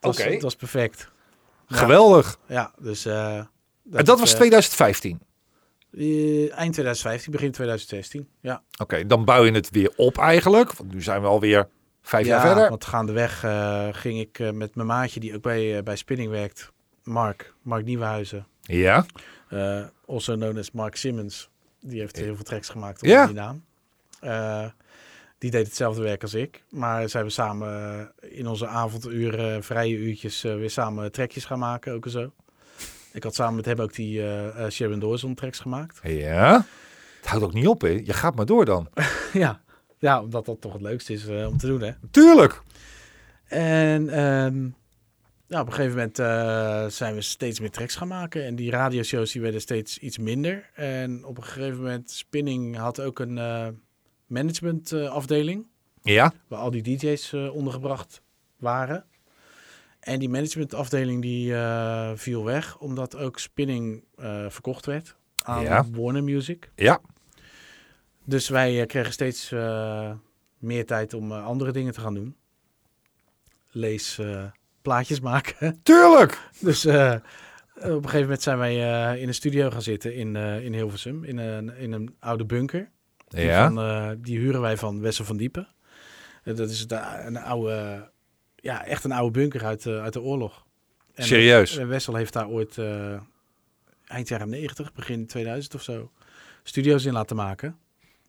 Speaker 3: was,
Speaker 1: Oké.
Speaker 3: het was perfect. Ja.
Speaker 1: Geweldig.
Speaker 3: Ja, dus... eh,
Speaker 1: en dat
Speaker 3: is,
Speaker 1: was
Speaker 3: eh,
Speaker 1: 2015.
Speaker 3: eh, eind 2015, begin 2016. Ja,
Speaker 1: Oké, dan bouw je het weer op eigenlijk. Want nu zijn we alweer vijf
Speaker 3: ja
Speaker 1: jaar verder.
Speaker 3: want gaandeweg eh, ging ik eh, met mijn maatje, die ook bij, eh, bij Spinning werkt, Mark, Mark Nieuwenhuizen.
Speaker 1: Ja,
Speaker 3: eh, also known as Mark Simmons. Die heeft heel veel tracks gemaakt
Speaker 1: Ja.
Speaker 3: onder die naam. Eh, die deed hetzelfde werk als ik. Maar zijn we samen eh, in onze avonduren, eh, vrije uurtjes, eh, weer samen trekjes gaan maken. Ook en zo. Ik had samen met hem ook die eh eh, Sharon Dawson tracks gemaakt.
Speaker 1: ja. Het houdt ook niet op, hè? Je gaat maar door dan.
Speaker 3: ja. ja, omdat dat toch het leukste is eh, om te doen, hè.
Speaker 1: Tuurlijk.
Speaker 3: En ehm, nou, op een gegeven moment eh, zijn we steeds meer tracks gaan maken. En die radioshows die werden steeds iets minder. En op een gegeven moment, Spinning had ook een eh, managementafdeling.
Speaker 1: Ja,
Speaker 3: waar al die DJ's eh, ondergebracht waren. En die managementafdeling die eh, viel weg. Omdat ook Spinning eh, verkocht werd aan
Speaker 1: Ja.
Speaker 3: Warner Music.
Speaker 1: ja.
Speaker 3: Dus wij eh, kregen steeds eh, meer tijd om eh, andere dingen te gaan doen. Lees eh, plaatjes maken.
Speaker 1: Tuurlijk.
Speaker 3: dus eh, op een gegeven moment zijn wij eh, in een studio gaan zitten in, eh, in Hilversum. In een, in een oude bunker. Die
Speaker 1: Ja.
Speaker 3: Van, eh, die huren wij van Wessel van Diepen. Eh, dat is de- een oude, ja, echt een oude bunker uit, de- uit de eh, oorlog. En,
Speaker 1: Serieus?
Speaker 3: eh, Wessel heeft daar ooit eh, eind jaren 90, begin 2000 of zo, studio's in laten maken.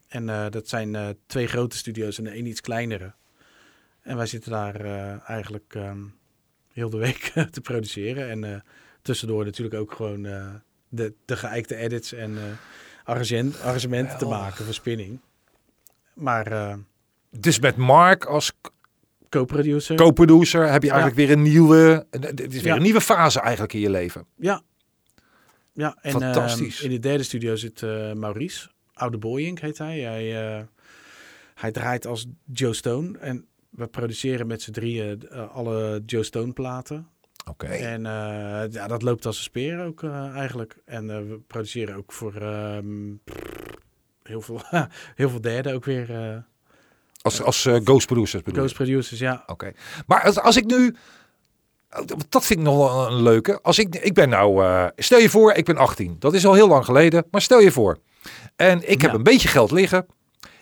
Speaker 3: En eh, dat zijn eh, twee grote studio's en de één iets kleinere. En wij zitten daar eh, eigenlijk ehm, heel de week te produceren. En eh, tussendoor natuurlijk ook gewoon eh, de, de geëikte edits en eh, arrangen- arrangementen te
Speaker 1: Geweldig.
Speaker 3: maken voor spinning. Maar eh,
Speaker 1: Dus met Mark als
Speaker 3: co-producer.
Speaker 1: co-producer heb je eigenlijk weer een nieuwe, een- het is weer
Speaker 3: Ja.
Speaker 1: een nieuwe fase eigenlijk in je leven.
Speaker 3: Ja. Ja, en
Speaker 1: Fantastisch.
Speaker 3: ehm, in de derde studio zit eh, Maurice. Oude Boyink heet hij. Hij, eh, hij draait als Joe Stone. En we produceren met z'n drieën eh, alle Joe Stone platen.
Speaker 1: Oké.
Speaker 3: En eh, ja, dat loopt als een speer ook eh, eigenlijk. En eh, we produceren ook voor ehm, heel, veel, heel veel derden ook weer. eh
Speaker 1: Als, als eh, ghost producers bedoel
Speaker 3: Ghost
Speaker 1: je?
Speaker 3: producers, ja.
Speaker 1: Oké. Maar als, als ik nu... oh, Dat vind ik nog wel een leuke. Als ik, ik ben nou... eh, stel je voor, ik ben 18. Dat is al heel lang geleden. Maar stel je voor. En ik heb
Speaker 3: Ja.
Speaker 1: een beetje geld liggen.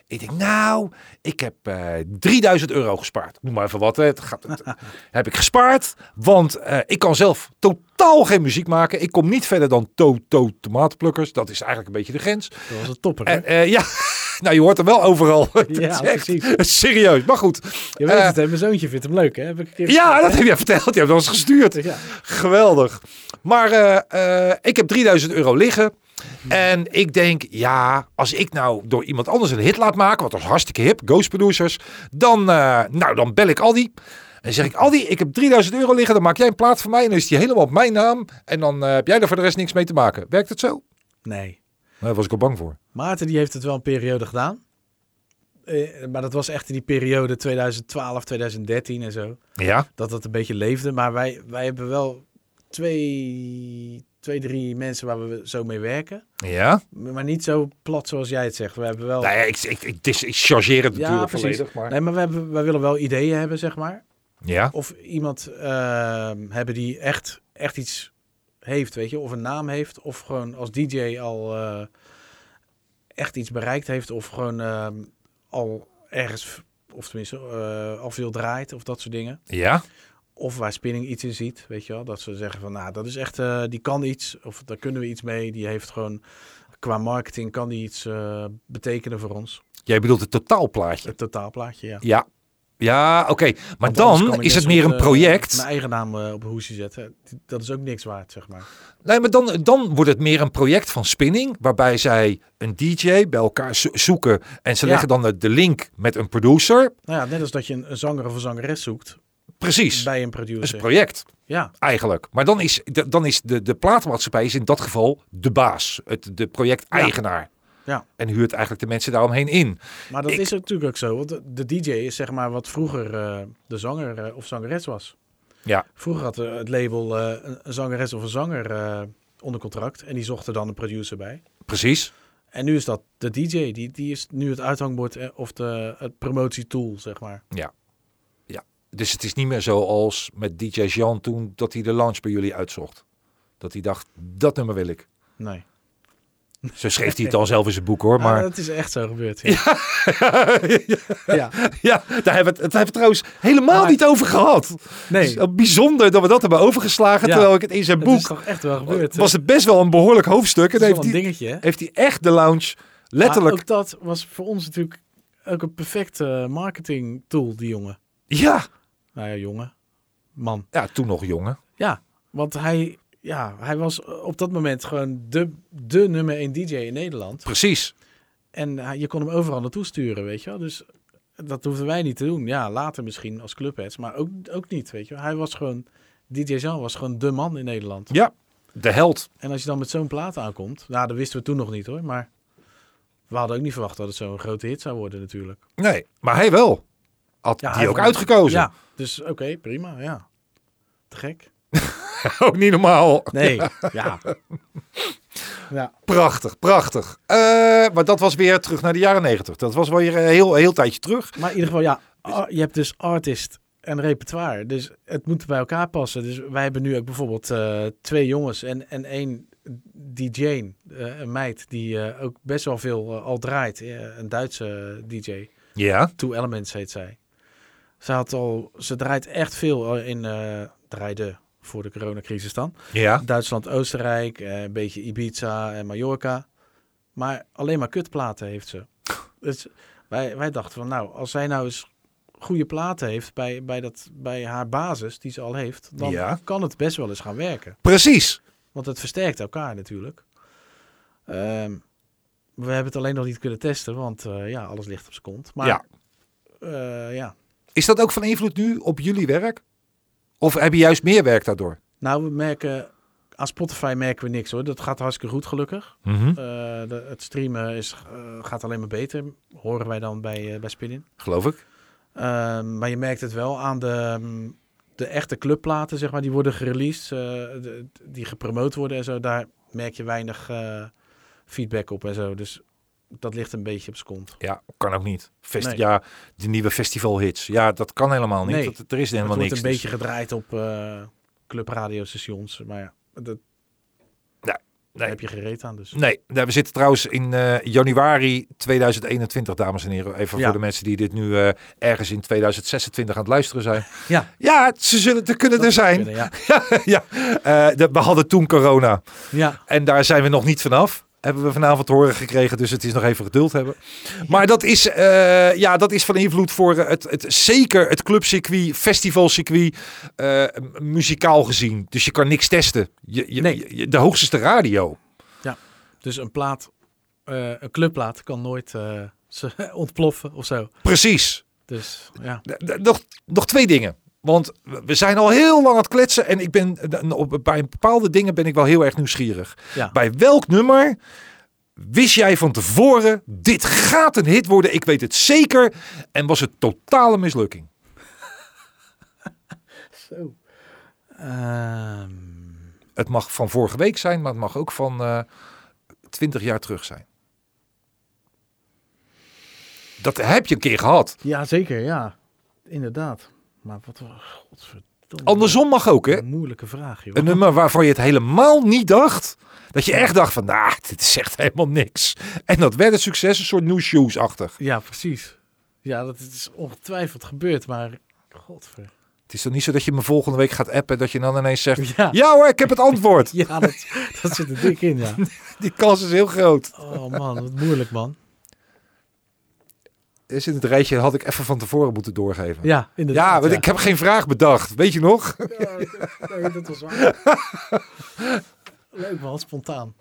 Speaker 1: Ik denk, nou, ik heb eh 3000 euro gespaard. Noem maar even wat. hè. Het gaat, het- heb ik gespaard. Want eh, ik kan zelf totaal geen muziek maken. Ik kom niet verder dan to-to tomatenplukkers. Dat is eigenlijk een beetje de grens.
Speaker 3: Dat was een topper. hè?
Speaker 1: En, eh, ja, nou je hoort hem wel overal. Het
Speaker 3: Ja,
Speaker 1: is echt
Speaker 3: precies.
Speaker 1: Serieus, maar goed.
Speaker 3: Je weet
Speaker 1: eh,
Speaker 3: het, hè? Mijn zoontje vindt hem leuk, hè? Heb ik een keer
Speaker 1: Ja, dat
Speaker 3: gezegd,
Speaker 1: heb je verteld. Je hebt wel eens gestuurd.
Speaker 3: hè? Ja.
Speaker 1: Geweldig. Maar eh, eh, ik heb 3000 euro liggen. En ik denk, ja, als ik nou door iemand anders een hit laat maken, want dat is hartstikke hip, Ghost Producers, dan, eh, nou, dan bel ik Aldi. En zeg ik, Aldi, ik heb 3000 euro liggen, dan maak jij een plaat voor mij en dan is die helemaal op mijn naam. En dan eh, heb jij daar voor de rest niks mee te maken. Werkt het zo? Nou,
Speaker 3: Nee.
Speaker 1: Daar was ik al bang voor.
Speaker 3: Maarten die heeft het wel een periode gedaan. Eh, maar dat was echt in die periode 2012, 2013 en zo.
Speaker 1: Ja?
Speaker 3: Dat dat een beetje leefde. Maar wij, wij hebben wel twee, twee, drie mensen waar we zo mee werken.
Speaker 1: Ja?
Speaker 3: Maar niet zo plat zoals jij het zegt. We hebben wel...
Speaker 1: Nou ja, ik, ik, ik, dis- ik chargeer het natuurlijk volledig. Maar...
Speaker 3: Nee, maar we hebben, wij willen wel ideeën hebben, zeg maar.
Speaker 1: Ja?
Speaker 3: Of iemand ehm, hebben die echt, echt iets heeft, weet je. Of een naam heeft. Of gewoon als DJ al eh, echt iets bereikt heeft. Of gewoon ehm, al ergens, of tenminste, eh, al veel draait. Of dat soort dingen.
Speaker 1: Ja?
Speaker 3: Of waar spinning iets in ziet, weet je wel. Dat ze zeggen van, nou, dat is echt, eh, die kan iets. Of daar kunnen we iets mee. Die heeft gewoon, qua marketing kan die iets eh, betekenen voor ons.
Speaker 1: Jij bedoelt het totaalplaatje.
Speaker 3: Het totaalplaatje, ja.
Speaker 1: Ja, ja oké. Maar
Speaker 3: Want anders kan
Speaker 1: dan
Speaker 3: ik
Speaker 1: is
Speaker 3: net
Speaker 1: het meer
Speaker 3: zo'n,
Speaker 1: een
Speaker 3: eh,
Speaker 1: project.
Speaker 3: mijn eigen naam eh, op een hoesje zetten. Dat is ook niks waard, zeg maar.
Speaker 1: Nee, maar dan, dan wordt het meer een project van spinning. Waarbij zij een DJ bij elkaar zo- zoeken. En ze
Speaker 3: Ja.
Speaker 1: leggen dan de- de link met een producer.
Speaker 3: Nou ja, net als dat je een, een zanger of een zangeres zoekt
Speaker 1: Precies. Dat
Speaker 3: bij een
Speaker 1: is
Speaker 3: producer.
Speaker 1: een project
Speaker 3: ja,
Speaker 1: eigenlijk. Maar dan is, de- dan is de, de platenmaatschappij is in dat geval de baas. Het, de projecteigenaar.
Speaker 3: Ja.
Speaker 1: En huurt eigenlijk de mensen daaromheen in.
Speaker 3: maar dat
Speaker 1: Ik-
Speaker 3: is natuurlijk ook zo. Want de, de DJ is zeg maar wat vroeger eh, de zanger eh, of zangeres was.
Speaker 1: Ja.
Speaker 3: Vroeger had eh, het label eh, een, een zangeres of een zanger eh, onder contract. En die zocht er dan een producer bij.
Speaker 1: Precies.
Speaker 3: En nu is dat de DJ. Die, die is nu het uithangbord eh, of de, het promotietool, zeg maar.
Speaker 1: Dus het is niet meer zoals met DJ Jean toen dat hij de launch bij jullie uitzocht. Dat hij dacht, dat nummer wil ik.
Speaker 3: Nee.
Speaker 1: Zo schreef hij het al zelf in zijn boek hoor.
Speaker 3: Maar
Speaker 1: Maar
Speaker 3: dat is echt zo gebeurd. Ja. ja.
Speaker 1: Ja, daar hebben we het, daar hebben we het trouwens helemaal
Speaker 3: Maar-
Speaker 1: niet over gehad.
Speaker 3: Nee.
Speaker 1: Het is wel bijzonder dat we dat hebben overgeslagen.
Speaker 3: Ja.
Speaker 1: Terwijl ik het in zijn
Speaker 3: Het is
Speaker 1: boek.
Speaker 3: toch echt wel gebeurd. eh.
Speaker 1: was het best wel een behoorlijk hoofdstuk. En
Speaker 3: Het is
Speaker 1: heeft
Speaker 3: wel een
Speaker 1: hij,
Speaker 3: dingetje, hè?
Speaker 1: heeft hij echt de lounge letterlijk.
Speaker 3: Maar ook dat was voor ons natuurlijk ook een perfecte marketing tool, die jongen.
Speaker 1: Ja.
Speaker 3: Nou ja, jongen. Man.
Speaker 1: ja, toen nog jongen.
Speaker 3: Ja, want hij, ja, hij was op dat moment gewoon de, de nummer 1 DJ in Nederland.
Speaker 1: Precies.
Speaker 3: En hij- je kon hem overal naartoe sturen, weet je wel. Dus dat hoefden wij niet te doen. Ja, later misschien als clubheads, maar ook, ook niet, weet je wel. Hij was gewoon, DJ Jean was gewoon de man in Nederland.
Speaker 1: Ja, de held.
Speaker 3: En als je dan met zo'n plaat aankomt, nou, dat wisten we toen nog niet hoor, maar... We hadden ook niet verwacht dat het zo'n grote hit zou worden natuurlijk.
Speaker 1: Nee, maar hij wel. Had
Speaker 3: Ja,
Speaker 1: die
Speaker 3: hij
Speaker 1: ook
Speaker 3: vond-
Speaker 1: uitgekozen.
Speaker 3: Ja, dus oké, prima, ja. Te gek.
Speaker 1: ook niet normaal.
Speaker 3: Nee, ja. ja.
Speaker 1: Prachtig, prachtig. Eh, maar dat was weer terug naar de jaren negentig. Dat was wel weer een heel, heel tijdje terug.
Speaker 3: Maar in ieder geval, ja, ar- je hebt dus artist en repertoire. Dus het moet bij elkaar passen. Dus wij hebben nu ook bijvoorbeeld eh, twee jongens en, en één DJ, eh, een meid, die eh, ook best wel veel eh, al draait. Eh, een Duitse DJ,
Speaker 1: Ja,
Speaker 3: Two Elements heet zij. Ze, had al, ze draait echt veel eh, in, eh draaide voor de coronacrisis dan.
Speaker 1: Ja.
Speaker 3: Duitsland, Oostenrijk, eh, een beetje Ibiza en Mallorca. Maar alleen maar kutplaten heeft ze. Dus wij, wij dachten van, nou, als zij nou eens goede platen heeft bij, bij, dat, bij haar basis die ze al heeft, dan
Speaker 1: Ja.
Speaker 3: kan het best wel eens gaan werken.
Speaker 1: Precies.
Speaker 3: Want het versterkt elkaar natuurlijk. Ehm, we hebben het alleen nog niet kunnen testen, want eh, ja, alles ligt op zijn kont. Maar
Speaker 1: Ja.
Speaker 3: eh, ja,
Speaker 1: Is dat ook van invloed nu op jullie werk? Of heb je juist meer werk daardoor?
Speaker 3: nou, we merken, aan Spotify merken we niks hoor. Dat gaat hartstikke goed, gelukkig. Eh, de- het streamen is, eh, gaat alleen maar beter, horen wij dan bij, eh, bij Spinin.
Speaker 1: Geloof ik.
Speaker 3: Ehm, maar je merkt het wel aan de, mm, de echte clubplaten, zeg maar, die worden gereleased, eh, de- die gepromoot worden en zo. Daar merk je weinig eh, feedback op en zo. Dus dat ligt een beetje op z'n kont.
Speaker 1: Ja, kan ook niet. Fest
Speaker 3: Nee.
Speaker 1: Ja, de nieuwe festivalhits. Ja, dat kan helemaal niet.
Speaker 3: Nee.
Speaker 1: Dat, er is helemaal
Speaker 3: het wordt
Speaker 1: niks. dus-
Speaker 3: een beetje gedraaid op eh clubradiostations, maar ja, dat,
Speaker 1: Dus-
Speaker 3: daar
Speaker 1: nee.
Speaker 3: heb je gereed aan dus.
Speaker 1: Nee, nou, we zitten trouwens in eh, januari 2021, dames en heren. Even
Speaker 3: Ja.
Speaker 1: voor de mensen die dit nu eh, ergens in 2026 aan het luisteren zijn.
Speaker 3: Ja.
Speaker 1: Ja, ze zullen er kunnen
Speaker 3: Dat
Speaker 1: er
Speaker 3: zou
Speaker 1: zijn.
Speaker 3: kunnen, ja.
Speaker 1: ja, eh, dat- we hadden toen corona
Speaker 3: ja,
Speaker 1: en daar zijn we nog niet vanaf. Hebben we vanavond te horen gekregen, dus het is nog even geduld hebben. Maar dat is, eh, ja, dat is van invloed voor eh, het, het, zeker het clubcircuit, festivalcircuit, eh, m- muzikaal gezien. Dus je kan niks testen. Je, je,
Speaker 3: Nee.
Speaker 1: je- de hoogste radio.
Speaker 3: dus een plaat, eh, een clubplaat kan nooit eh, ze ontploffen of zo.
Speaker 1: Precies.
Speaker 3: Dus ja,
Speaker 1: D- d- Nog, nog twee dingen. Want we we zijn al heel lang aan het kletsen. En ik ben, eh, op- bij bepaalde dingen ben ik wel heel erg nieuwsgierig.
Speaker 3: ja.
Speaker 1: Bij welk nummer wist jij van tevoren, dit gaat een hit worden, ik weet het zeker. En was het totale mislukking.
Speaker 3: Zo. Ehm,
Speaker 1: Het mag van vorige week zijn, maar het mag ook van eh 20 jaar terug zijn. Dat heb je een keer gehad.
Speaker 3: ja, zeker, ja. Inderdaad. Maar wat een godverdomme
Speaker 1: Andersom mag ook, hè?
Speaker 3: moeilijke vraag, joh.
Speaker 1: Een nummer waarvan je het helemaal niet dacht. Dat je echt dacht van, nou, dit is echt helemaal niks. En dat werd een succes, een soort New Shoes-achtig.
Speaker 3: Ja, precies. Ja, dat is ongetwijfeld gebeurd, maar... Godver.
Speaker 1: Het is toch niet zo dat je me volgende week gaat appen... dat je dan ineens zegt,
Speaker 3: Ja, ja.
Speaker 1: ja hoor, ik heb het antwoord.
Speaker 3: dat, dat zit er dik in, ja.
Speaker 1: Die kans is heel groot.
Speaker 3: Oh man, wat moeilijk, man.
Speaker 1: is in het rijtje had ik even van tevoren moeten doorgeven. Ja,
Speaker 3: Ja, inderdaad.
Speaker 1: want ik heb geen vraag bedacht. Weet je nog?
Speaker 3: Ja, nee, dat was waar. Leuk man, spontaan.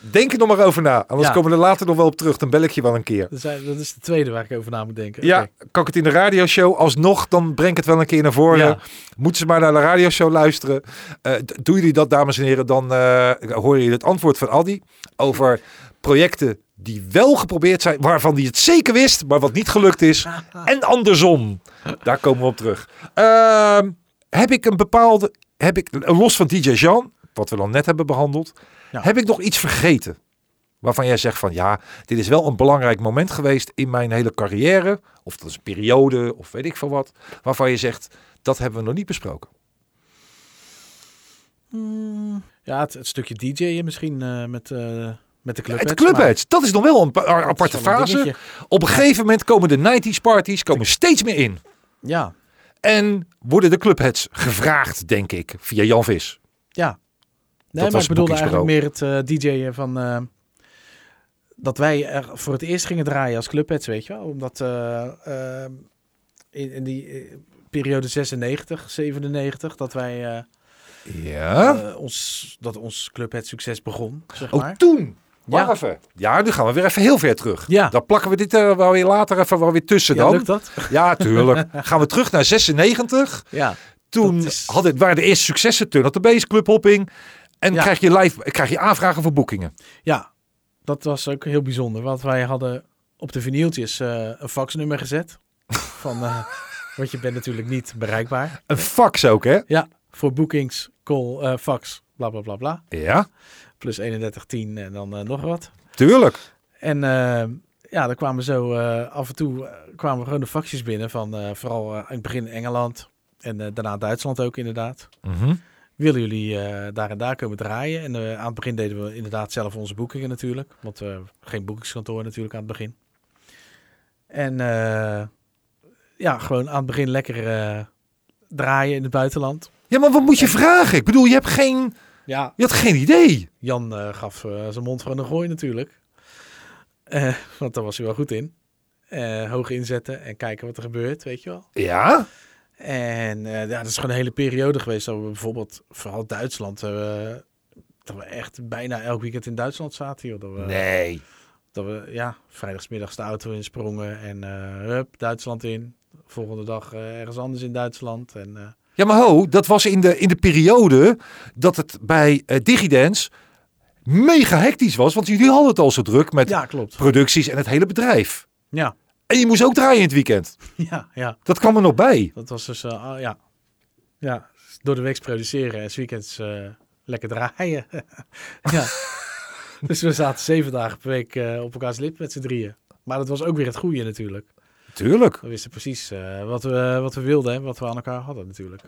Speaker 1: Denk er nog maar over na. Anders
Speaker 3: Ja.
Speaker 1: komen we er later nog wel op terug. Dan bel ik je wel een keer.
Speaker 3: Dat is, dat is de tweede waar ik over na moet denken.
Speaker 1: Ja,
Speaker 3: Oké.
Speaker 1: kan ik het in de radioshow? Alsnog, dan breng ik het wel een keer naar voren.
Speaker 3: Ja.
Speaker 1: Moeten ze maar naar de radioshow luisteren. Eh, d- doen jullie dat, dames en heren? Dan eh horen jullie het antwoord van Aldi over projecten die wel geprobeerd zijn, waarvan die het zeker wist, maar wat niet gelukt is. En andersom. Daar komen we op terug. Ehm, heb ik een bepaalde, heb ik, los van DJ Jean, wat we dan net hebben behandeld,
Speaker 3: Ja.
Speaker 1: heb ik nog iets vergeten? Waarvan jij zegt van ja, dit is wel een belangrijk moment geweest in mijn hele carrière. Of dat is een periode, of weet ik veel wat. Waarvan je zegt, dat hebben we nog niet besproken.
Speaker 3: Mm, Ja, het, het stukje DJ'en misschien eh, met, eh, met de club.
Speaker 1: het Clubheads, dat is nog wel een, pa- een aparte fase. Op een gegeven moment komen de 90s parties komen steeds meer in.
Speaker 3: Ja,
Speaker 1: En worden de Clubheads gevraagd, denk ik, via Jan Vis.
Speaker 3: ja. Nee,
Speaker 1: was
Speaker 3: maar ik bedoelde
Speaker 1: boekingsbureau.
Speaker 3: eigenlijk meer het eh DJ'en van... eh, dat wij er voor het eerst gingen draaien als clubheads, weet je wel. Omdat eh, eh, in, in die eh, periode 96, 97, dat wij... eh,
Speaker 1: Ja.
Speaker 3: eh, ons, dat ons clubhead succes begon, zeg
Speaker 1: oh,
Speaker 3: maar.
Speaker 1: toen. Ja.
Speaker 3: Ja.
Speaker 1: even. Ja, nu gaan we weer even heel ver terug.
Speaker 3: Ja.
Speaker 1: Dan plakken we dit er wel weer later even wel weer tussen
Speaker 3: Ja,
Speaker 1: dan.
Speaker 3: lukt dat?
Speaker 1: Ja, tuurlijk. gaan we terug naar 96.
Speaker 3: Ja,
Speaker 1: Toen
Speaker 3: Dat is-
Speaker 1: had het, waren de eerste successen Turn op de Base, clubhopping. En
Speaker 3: Ja.
Speaker 1: krijg, je live, krijg je aanvragen voor boekingen.
Speaker 3: ja, dat was ook heel bijzonder. Want wij hadden op de vinyltjes eh, een faxnummer gezet. van, eh, want je bent natuurlijk niet bereikbaar.
Speaker 1: Een fax ook, hè?
Speaker 3: Ja, voor boekings, call, eh, fax, bla bla bla bla.
Speaker 1: Ja,
Speaker 3: Plus 3110 en dan eh, nog wat.
Speaker 1: tuurlijk.
Speaker 3: En eh, ja, er kwamen zo eh, af en toe eh, kwamen gewoon de faxjes binnen. Van eh, vooral eh, in het begin Engeland en eh, daarna Duitsland ook inderdaad.
Speaker 1: Mhm.
Speaker 3: willen jullie eh, daar en daar komen draaien? En eh, aan het begin deden we inderdaad zelf onze boekingen natuurlijk. Want eh, geen boekingskantoor natuurlijk aan het begin. En eh, ja, gewoon aan het begin lekker eh, draaien in het buitenland.
Speaker 1: Ja, maar wat moet je vragen? Ik bedoel, je, hebt geen,
Speaker 3: Ja,
Speaker 1: je had geen idee.
Speaker 3: Jan eh, gaf eh, zijn mond van een gooi natuurlijk. Eh, want daar was hij wel goed in. Eh, hoog inzetten en kijken wat er gebeurt, weet je wel.
Speaker 1: Ja?
Speaker 3: En eh, ja, dat is gewoon een hele periode geweest. Dat we bijvoorbeeld, vooral Duitsland, eh, dat we echt bijna elk weekend in Duitsland zaten. Joh. Dat we,
Speaker 1: Nee.
Speaker 3: dat we ja, vrijdagsmiddags de auto insprongen en eh, hup, Duitsland in. Volgende dag eh, ergens anders in Duitsland. En, eh,
Speaker 1: Ja, maar ho, dat was in de, in de periode dat het bij eh, Digidance mega hectisch was. Want jullie hadden het al zo druk met
Speaker 3: ja, klopt.
Speaker 1: producties en het hele bedrijf.
Speaker 3: Ja,
Speaker 1: En je moest ook draaien in het weekend.
Speaker 3: ja, ja.
Speaker 1: Dat kwam er nog bij.
Speaker 3: Dat was dus, eh, ah, ja. ja, door de week produceren en 's weekends eh, lekker draaien. ja. Dus we zaten zeven dagen per week eh, op elkaars lip met z'n drieën. Maar dat was ook weer het goede natuurlijk.
Speaker 1: Tuurlijk.
Speaker 3: We wisten precies eh, wat, we, wat we wilden en wat we aan elkaar hadden natuurlijk.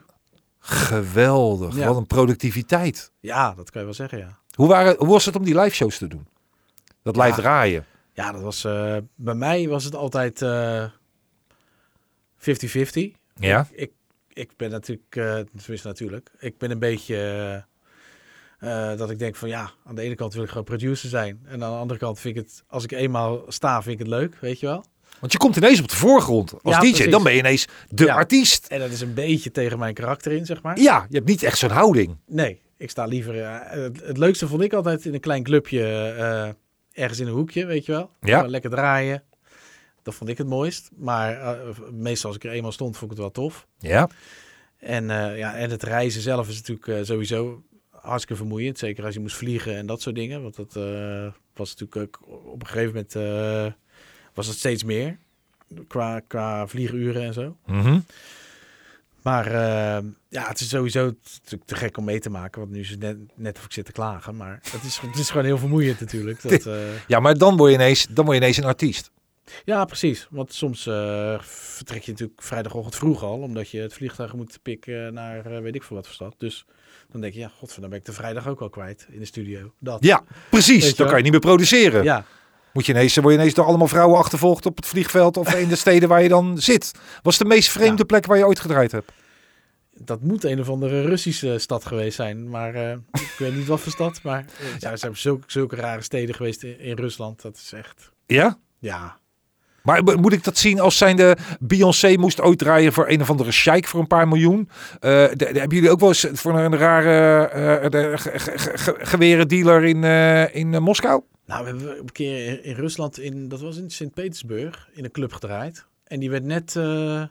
Speaker 1: Geweldig.
Speaker 3: Ja.
Speaker 1: Wat een productiviteit.
Speaker 3: Ja, dat kan je wel zeggen, ja.
Speaker 1: Hoe, waren, hoe was het om die live shows te doen? Dat live
Speaker 3: Ja.
Speaker 1: draaien.
Speaker 3: Ja, dat was, eh, bij mij was het altijd eh, 50-50.
Speaker 1: Ja.
Speaker 3: ik, ik ben natuurlijk, eh tenminste natuurlijk, ik ben een beetje eh, eh, dat ik denk van ja, aan de ene kant wil ik gewoon producer zijn. En aan de andere kant vind ik het, als ik eenmaal sta, vind ik het leuk, weet je wel.
Speaker 1: Want je komt ineens op de voorgrond als
Speaker 3: Ja,
Speaker 1: DJ.
Speaker 3: precies.
Speaker 1: Dan ben je ineens de
Speaker 3: Ja.
Speaker 1: artiest.
Speaker 3: En dat is een beetje tegen mijn karakter in, zeg maar.
Speaker 1: Ja, je hebt niet echt zo'n houding.
Speaker 3: Nee, ik sta liever, eh, het, het leukste vond ik altijd in een klein clubje, eh, ergens in een hoekje, weet je wel.
Speaker 1: Ja.
Speaker 3: Gewoon Lekker draaien. Dat vond ik het mooist. Maar eh, meestal als ik er eenmaal stond, vond ik het wel tof.
Speaker 1: Ja.
Speaker 3: En, eh, ja, en het reizen zelf is natuurlijk eh, sowieso hartstikke vermoeiend. Zeker als je moest vliegen en dat soort dingen. Want dat eh, was natuurlijk ook op een gegeven moment eh, was het steeds meer. Qua, qua vlieguren en zo.
Speaker 1: Mhm.
Speaker 3: Maar eh, ja, het is sowieso het is natuurlijk te gek om mee te maken. Want nu is het net, net of ik zit te klagen. Maar het is, het is gewoon heel vermoeiend natuurlijk. Dat, eh,
Speaker 1: Ja, maar dan word, je ineens, dan word je ineens een artiest.
Speaker 3: Ja, precies. Want soms eh, vertrek je natuurlijk vrijdagochtend vroeg al, omdat je het vliegtuig moet pikken naar eh, weet ik veel wat voor stad. Dus dan denk je, ja, godver, dan ben ik de vrijdag ook al kwijt in de studio. Dat.
Speaker 1: Ja, precies.
Speaker 3: Weet
Speaker 1: Dan
Speaker 3: je
Speaker 1: kan
Speaker 3: wel?
Speaker 1: je niet meer produceren.
Speaker 3: Ja,
Speaker 1: Moet je ineens, dan word je ineens door allemaal vrouwen achtervolgd op het vliegveld of in de steden waar je dan zit. Was de meest vreemde
Speaker 3: Ja.
Speaker 1: plek waar je ooit gedraaid hebt?
Speaker 3: dat moet een of andere Russische stad geweest zijn. Maar eh, ik weet niet wat voor stad. Maar eh, ja, er zijn zulke, zulke rare steden geweest in, in Rusland. Dat is echt,
Speaker 1: Ja?
Speaker 3: ja.
Speaker 1: Maar mo- moet ik dat zien als zijnde Beyoncé moest ooit draaien voor een of andere sheik voor een paar miljoen? Eh, de- de- hebben jullie ook wel eens voor een rare eh de, ge- ge- ge- ge- gewerendealer in, eh, in eh, Moskou?
Speaker 3: Nou, we hebben een keer in, in Rusland, in, dat was in Sint-Petersburg, in een club gedraaid. En die werd net, eh,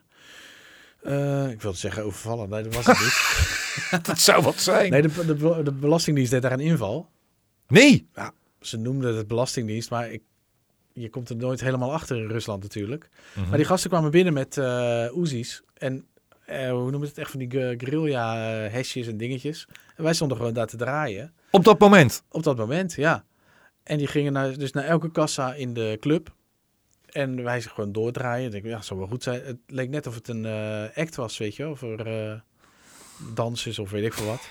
Speaker 3: eh, ik wilde zeggen overvallen, nee, dat was het niet.
Speaker 1: Dat zou wat zijn. Nee.
Speaker 3: Nee, de, de, de Belastingdienst deed daar een inval. Ze noemden het Belastingdienst, maar ik, je komt er nooit helemaal achter in Rusland natuurlijk. Maar die gasten kwamen binnen met eh Oezies en eh, hoe noemen ze het echt van die gu- guerrilla-hesjes en dingetjes. En wij stonden gewoon daar te draaien
Speaker 1: Op dat moment.
Speaker 3: op dat moment, ja. En die gingen naar, dus naar elke kassa in de club. En wij ze gewoon doordraaien. Ik denk, ja, zou wel goed zijn. Het leek net of het een eh, act was, weet je wel. Voor eh dansers of weet ik veel wat.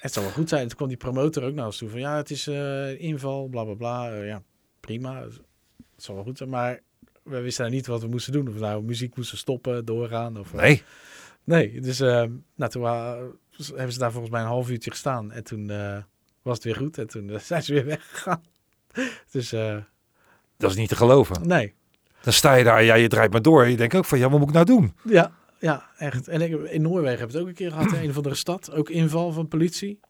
Speaker 3: Het zou wel goed zijn. En toen kwam die promotor ook naar ons toe. Van ja, het is eh, inval, bla bla bla. Eh, ja, prima. Het zou wel goed zijn. Maar we wisten nou niet wat we moesten doen. Of we nou muziek moesten stoppen, doorgaan. Of, eh,
Speaker 1: Nee.
Speaker 3: Nee, dus eh, nou, toen wa- hebben ze daar volgens mij een half uurtje gestaan. En toen eh, was het weer goed. En toen eh, zijn ze weer weggegaan. Dus eh,
Speaker 1: Dat is niet te geloven.
Speaker 3: nee,
Speaker 1: Dan sta je daar, ja, je draait maar door. En je denkt ook van, ja, wat moet ik nou doen?
Speaker 3: ja, ja, echt. En ik, in Noorwegen hebben we het ook een keer gehad. in Een of andere stad, ook inval van politie.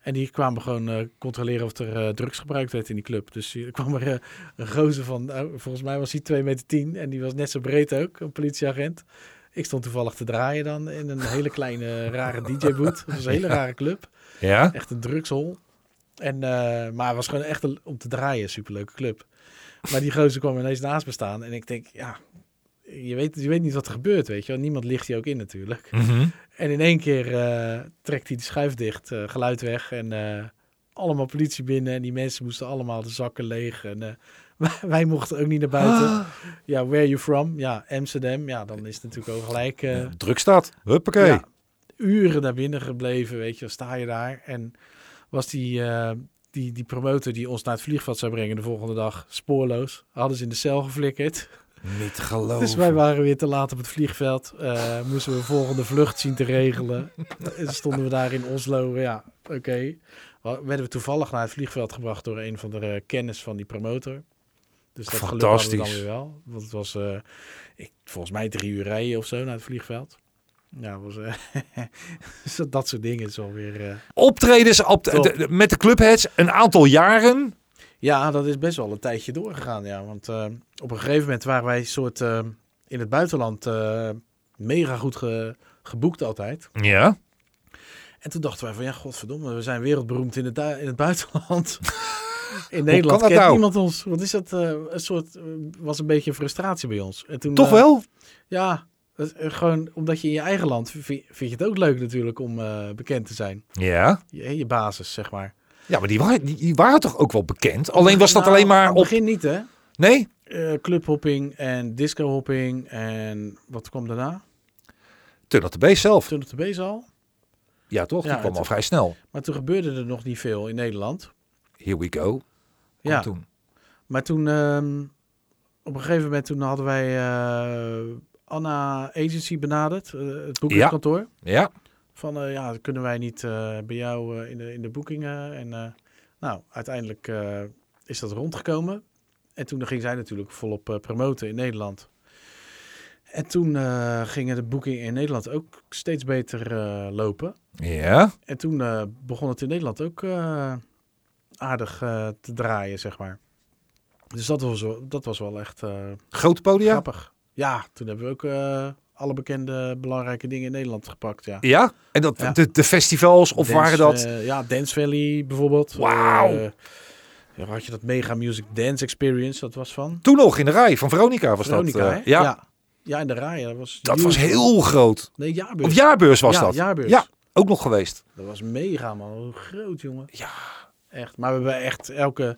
Speaker 3: En die kwamen gewoon eh, controleren of er eh, drugs gebruikt werd in die club. Dus hier kwam er eh, een gozer van, nou, volgens mij was hij 2 meter 10. En die was net zo breed ook, een politieagent. Ik stond toevallig te draaien dan in een hele kleine rare DJ-boot. Dat was een hele rare club.
Speaker 1: Ja.
Speaker 3: Echt een drugshol. En, eh, maar het was gewoon echt een- om te draaien, superleuke club. Maar die gozer kwam ineens naast me staan. En ik denk, ja, je weet, je weet niet wat er gebeurt, weet je wel. Niemand ligt hier ook in natuurlijk.
Speaker 1: Mhm.
Speaker 3: En in één keer eh, trekt hij de schuif dicht, eh, geluid weg. En eh, allemaal politie binnen. En die mensen moesten allemaal de zakken leeg. En eh, wij, wij mochten ook niet naar buiten.
Speaker 1: Ah.
Speaker 3: Ja, where you from? Ja, Amsterdam. Ja, dan is het natuurlijk ook gelijk... eh,
Speaker 1: Druk staat. Huppakee.
Speaker 3: ja, uren daar binnen gebleven, weet je, wel, sta je daar. En was die, eh, die, die promotor die ons naar het vliegveld zou brengen de volgende dag spoorloos. Hadden ze in de cel geflikkerd.
Speaker 1: Niet geloven.
Speaker 3: Dus wij waren weer te laat op het vliegveld. Eh, moesten we een volgende vlucht zien te regelen. En stonden we daar in Oslo. Ja, oké. Wa- Werden we toevallig naar het vliegveld gebracht door een van de eh, kennis van die promotor. Dus dat geluk hadden we dan
Speaker 1: Fantastisch.
Speaker 3: weer wel. Want het was eh, ik, volgens mij drie uur rijden of zo naar het vliegveld. Ja, het was, eh, dus dat- dat soort dingen is alweer... eh,
Speaker 1: Optredens op de-
Speaker 3: Top.
Speaker 1: de- de- met de clubheads een aantal jaren.
Speaker 3: Ja, dat is best wel een tijdje doorgegaan, ja. Want eh, op een gegeven moment waren wij soort eh, in het buitenland eh, mega goed ge- geboekt altijd.
Speaker 1: Ja.
Speaker 3: En toen dachten wij van, ja, godverdomme, we zijn wereldberoemd in het, du- in het buitenland. in Nederland
Speaker 1: dat
Speaker 3: kent
Speaker 1: nou?
Speaker 3: niemand ons. Wat is dat? eh, een soort, eh, was een beetje een frustratie bij ons. En toen,
Speaker 1: Toch
Speaker 3: eh,
Speaker 1: wel?
Speaker 3: Ja, dat is, eh, gewoon omdat je in je eigen land, vi- vind, je het ook leuk natuurlijk om eh, bekend te zijn.
Speaker 1: Ja.
Speaker 3: Je, je basis, zeg maar.
Speaker 1: Ja, maar die waren, die, die waren toch ook wel bekend? Alleen was dat
Speaker 3: Nou,
Speaker 1: alleen maar
Speaker 3: aan het
Speaker 1: op...
Speaker 3: begin niet, hè?
Speaker 1: Nee?
Speaker 3: eh clubhopping en discohopping en wat kwam daarna?
Speaker 1: Turn op de beest zelf.
Speaker 3: Toen het de al.
Speaker 1: Ja, toch?
Speaker 3: Ja,
Speaker 1: die kwam
Speaker 3: het-
Speaker 1: al vrij snel.
Speaker 3: Maar toen gebeurde er nog niet veel in Nederland.
Speaker 1: Here we go. Kom
Speaker 3: Ja,
Speaker 1: Toen.
Speaker 3: maar toen ehm, op een gegeven moment toen hadden wij eh, Anna Agency benaderd, eh, het boekingskantoor.
Speaker 1: Ja.
Speaker 3: Van eh, ja, kunnen wij niet eh, bij jou eh, in, de, in de boekingen? En eh, nou, uiteindelijk eh, is dat rondgekomen. En toen ging zij natuurlijk volop eh, promoten in Nederland. En toen eh, gingen de boekingen in Nederland ook steeds beter eh, lopen.
Speaker 1: Ja.
Speaker 3: En toen eh, begon het in Nederland ook eh, aardig eh, te draaien, zeg maar. Dus dat was, wel- dat was wel echt eh,
Speaker 1: Groot podium.
Speaker 3: grappig. Ja, toen hebben we ook eh, alle bekende belangrijke dingen in Nederland gepakt, ja.
Speaker 1: Ja. En dat,
Speaker 3: Ja.
Speaker 1: De, de festivals of
Speaker 3: Dance,
Speaker 1: waren dat...
Speaker 3: eh, ja, Dance Valley bijvoorbeeld.
Speaker 1: Wauw.
Speaker 3: Eh, ja, had je dat Mega Music Dance Experience, dat was van.
Speaker 1: Toen nog in de rij van Veronica was
Speaker 3: Veronica,
Speaker 1: dat. eh,
Speaker 3: hè?
Speaker 1: ja.
Speaker 3: ja. Ja, in de rij. Dat was,
Speaker 1: Dat
Speaker 3: huge.
Speaker 1: was heel groot.
Speaker 3: Nee, jaarbeurs.
Speaker 1: Of jaarbeurs was
Speaker 3: ja,
Speaker 1: dat.
Speaker 3: Jaarbeurs.
Speaker 1: Ja, ook nog geweest.
Speaker 3: Dat was mega, man. Hoe groot, jongen.
Speaker 1: Ja.
Speaker 3: Echt. Maar we hebben echt elke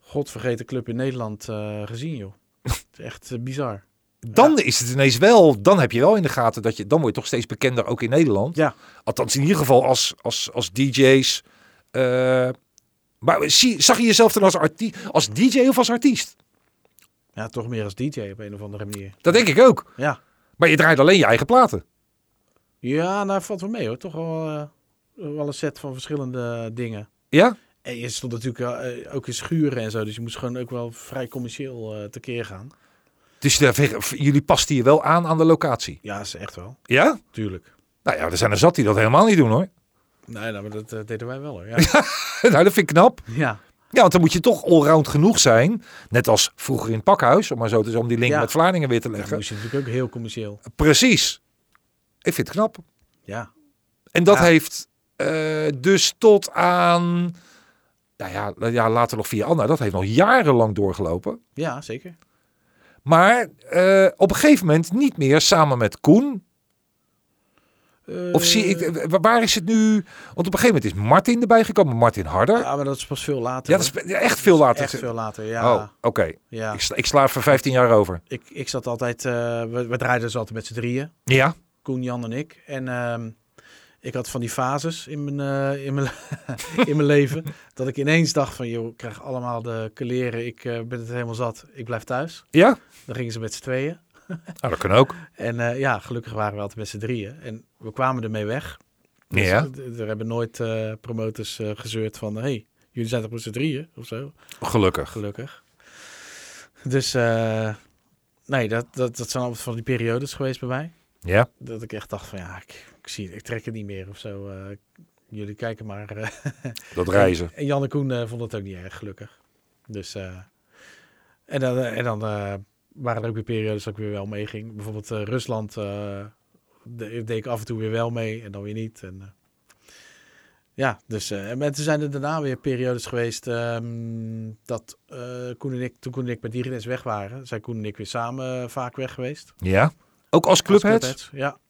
Speaker 3: godvergeten club in Nederland eh, gezien, joh. Het is echt eh, bizar.
Speaker 1: Dan is het ineens wel, dan heb je wel in de gaten dat je, dan word je toch steeds bekender ook in Nederland.
Speaker 3: Ja.
Speaker 1: Althans in ieder geval als, als, als DJ's. Eh, maar zie, zag je jezelf dan als, artie- als DJ of als artiest?
Speaker 3: Ja, toch meer als DJ op een of andere manier.
Speaker 1: Dat denk ik ook.
Speaker 3: Ja.
Speaker 1: Maar je draait alleen je eigen platen.
Speaker 3: Ja, nou valt wel mee, hoor. Toch wel, eh, wel een set van verschillende dingen.
Speaker 1: Ja?
Speaker 3: En je stond natuurlijk eh, ook in schuren en zo. Dus je moest gewoon ook wel vrij commercieel eh, tekeer gaan.
Speaker 1: Dus daar ver- jullie pasten je wel aan aan de locatie.
Speaker 3: Ja, is echt wel.
Speaker 1: Ja?
Speaker 3: Tuurlijk.
Speaker 1: Nou ja, er zijn er zat die dat helemaal niet doen hoor.
Speaker 3: Nee, nou, maar dat eh, deden wij wel, hoor. Ja.
Speaker 1: nou, dat vind ik knap.
Speaker 3: ja.
Speaker 1: Ja, want dan moet je toch allround genoeg zijn. Net als vroeger in het pakhuis, om maar zo te zeggen, om die link
Speaker 3: Ja.
Speaker 1: met Vlaardingen weer te
Speaker 3: Dat
Speaker 1: leggen.
Speaker 3: moest je natuurlijk ook heel commercieel.
Speaker 1: Precies. Ik vind het knap.
Speaker 3: Ja.
Speaker 1: En dat
Speaker 3: Ja.
Speaker 1: heeft eh, dus tot aan... Nou ja, la- ja, later nog via Anna. Dat heeft nog jarenlang doorgelopen.
Speaker 3: Ja, zeker.
Speaker 1: Maar eh, op een gegeven moment niet meer samen met Koen. Of
Speaker 3: Eh,
Speaker 1: zie ik, eh, wa- waar is het nu? Want op een gegeven moment is Martin erbij gekomen. Martin Harder. Ja,
Speaker 3: Ja, maar dat is pas veel later.
Speaker 1: dat is
Speaker 3: hoor.
Speaker 1: pe- echt veel later.
Speaker 3: Echt veel later, ja.
Speaker 1: Oh, oké.
Speaker 3: ja.
Speaker 1: Ik,
Speaker 3: Ik,
Speaker 1: sla, ik sla voor 15 jaar over.
Speaker 3: ik, zat altijd, eh, we, we draaiden dus altijd met z'n drieën.
Speaker 1: Ja,
Speaker 3: Koen, Jan en ik. En ehm, ik had van die fases in mijn, eh, in, mijn, in mijn leven. Dat ik ineens dacht van, joh, ik krijg allemaal de kleren. Ik eh, ben het helemaal zat. Ik blijf thuis.
Speaker 1: ja?
Speaker 3: Dan gingen ze met z'n tweeën.
Speaker 1: Nou, dat kan ook.
Speaker 3: En eh, ja, gelukkig waren we altijd met z'n drieën. En we kwamen ermee weg. Dus
Speaker 1: Ja.
Speaker 3: d- Er hebben nooit eh, promotors eh, gezeurd van, hey, jullie zijn toch met z'n drieën of zo.
Speaker 1: Gelukkig.
Speaker 3: Gelukkig. Dus eh, nee, dat, dat, dat zijn altijd van die periodes geweest bij mij.
Speaker 1: Ja.
Speaker 3: Dat ik echt dacht van ja, ik, ik zie het, ik trek het niet meer of zo. eh, jullie kijken maar. eh.
Speaker 1: Dat reizen.
Speaker 3: En Jan en Koen eh, vonden het ook niet erg gelukkig. Dus eh, en dan, eh, en dan eh, waren er ook weer periodes dat ik weer wel meeging. Bijvoorbeeld eh, Rusland eh, de- deed ik af en toe weer wel mee en dan weer niet. En, eh, ja, dus eh, en toen zijn er daarna weer periodes geweest ehm, dat eh, Koen en ik, toen Koen en ik met Digenes weg waren, zijn Koen en ik weer samen eh, vaak weg geweest.
Speaker 1: Ja. Ook als clubheads?
Speaker 3: Als clubheads, Ja.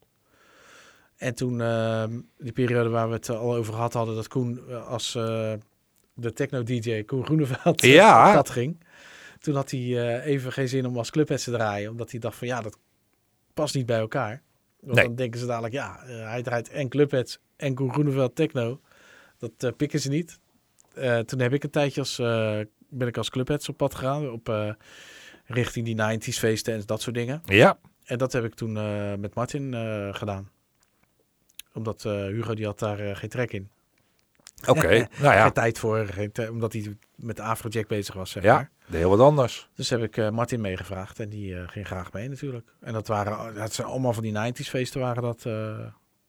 Speaker 3: En toen, ehm, die periode waar we het eh, al over gehad hadden, dat Koen eh, als eh, de techno-dj Koen Groeneveld eh,
Speaker 1: Ja.
Speaker 3: op dat ging. Toen had hij eh, even geen zin om als clubhead te draaien, omdat hij dacht van ja, dat past niet bij elkaar. Want
Speaker 1: Nee.
Speaker 3: dan denken ze dadelijk, ja, eh, hij draait en clubheads en Koen Groeneveld techno. Dat eh, pikken ze niet. Eh, toen heb ik een tijdje als, eh, ben ik als clubheads op pad gegaan op eh, richting die 90s feesten en dat soort dingen.
Speaker 1: Ja,
Speaker 3: En dat heb ik toen eh, met Martin eh, gedaan. Omdat eh, Hugo die had daar eh, geen trek in.
Speaker 1: oké. nou ja.
Speaker 3: Geen tijd voor, geen te- omdat hij met de Afrojack bezig was, zeg
Speaker 1: ja,
Speaker 3: maar.
Speaker 1: heel wat anders.
Speaker 3: Dus heb ik eh, Martin meegevraagd en die eh, ging graag mee natuurlijk. En dat waren, oh, dat zijn allemaal van die 90s feesten waren dat. eh,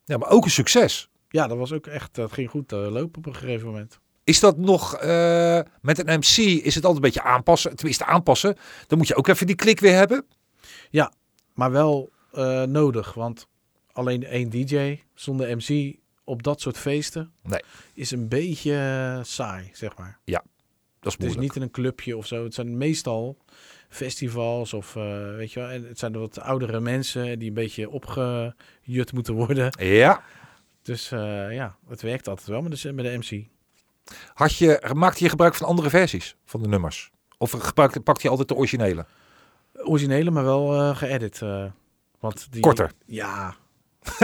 Speaker 1: Ja, maar ook een succes.
Speaker 3: ja, dat was ook echt, dat ging goed eh, lopen op een gegeven moment.
Speaker 1: Is dat nog eh, met een MC? Is het altijd een beetje aanpassen? Tenminste, aanpassen. Dan moet je ook even die klik weer hebben.
Speaker 3: Maar wel eh, nodig, want alleen één DJ zonder MC op dat soort feesten
Speaker 1: Nee.
Speaker 3: is een beetje eh, saai, zeg maar.
Speaker 1: Dat is
Speaker 3: Het is
Speaker 1: moeilijk.
Speaker 3: niet in een clubje of zo. Het zijn meestal festivals of eh, weet je wel. En het zijn wat oudere mensen die een beetje opgejut moeten worden.
Speaker 1: Ja.
Speaker 3: Dus eh, ja, het werkt altijd wel met de, met de MC.
Speaker 1: Had je, maakte je gebruik van andere versies van de nummers? Of gebruikte, pakte je altijd de originele?
Speaker 3: Originele, maar wel eh, geëdit. eh. want die,
Speaker 1: Korter.
Speaker 3: Ja.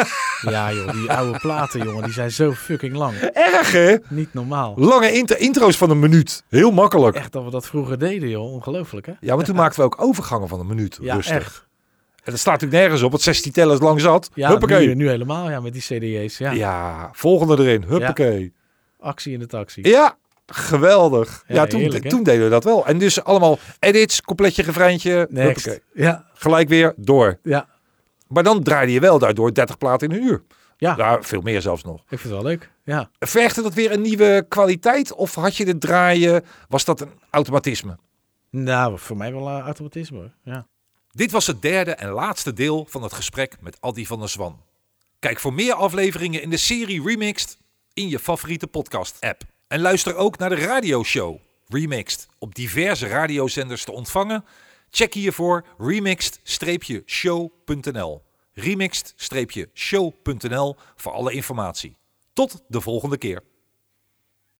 Speaker 3: ja joh, die oude platen jongen, die zijn zo fucking lang.
Speaker 1: Erg hè?
Speaker 3: Niet normaal.
Speaker 1: Lange inter- intro's van een minuut. Heel makkelijk.
Speaker 3: Echt dat we dat vroeger deden joh, ongelooflijk hè?
Speaker 1: Ja, maar toen maakten we ook overgangen van een minuut.
Speaker 3: Ja,
Speaker 1: rustig.
Speaker 3: echt.
Speaker 1: En dat staat natuurlijk nergens op, want 16 tellers lang zat.
Speaker 3: Ja,
Speaker 1: Huppakee.
Speaker 3: nu, nu helemaal ja, met die CD's. Ja.
Speaker 1: ja. volgende erin. Huppakee.
Speaker 3: Actie in de taxi.
Speaker 1: Ja, geweldig. Ja,
Speaker 3: Ja,
Speaker 1: toen,
Speaker 3: heerlijk, hè?
Speaker 1: toen deden we dat wel. En dus allemaal edits, completje, gevreintje.
Speaker 3: Next.
Speaker 1: Huppakee.
Speaker 3: Ja,
Speaker 1: Gelijk weer door.
Speaker 3: ja.
Speaker 1: Maar dan draaide je wel daardoor 30 platen in een uur.
Speaker 3: Ja.
Speaker 1: Nou, veel meer zelfs nog.
Speaker 3: Ik vind het wel leuk. Ja.
Speaker 1: Vergde dat weer een nieuwe kwaliteit? Of had je het draaien, was dat een automatisme?
Speaker 3: Nou, voor mij wel eh, automatisme. hoor. Ja.
Speaker 1: Dit was het derde en laatste deel van het gesprek met Addy van der Zwan. Kijk voor meer afleveringen in de serie Remixed in je favoriete podcast-app. En luister ook naar de radioshow Remixed op diverse radiozenders te ontvangen. Check hiervoor remixed-show.nl. Remixed-show.nl voor alle informatie. Tot de volgende keer.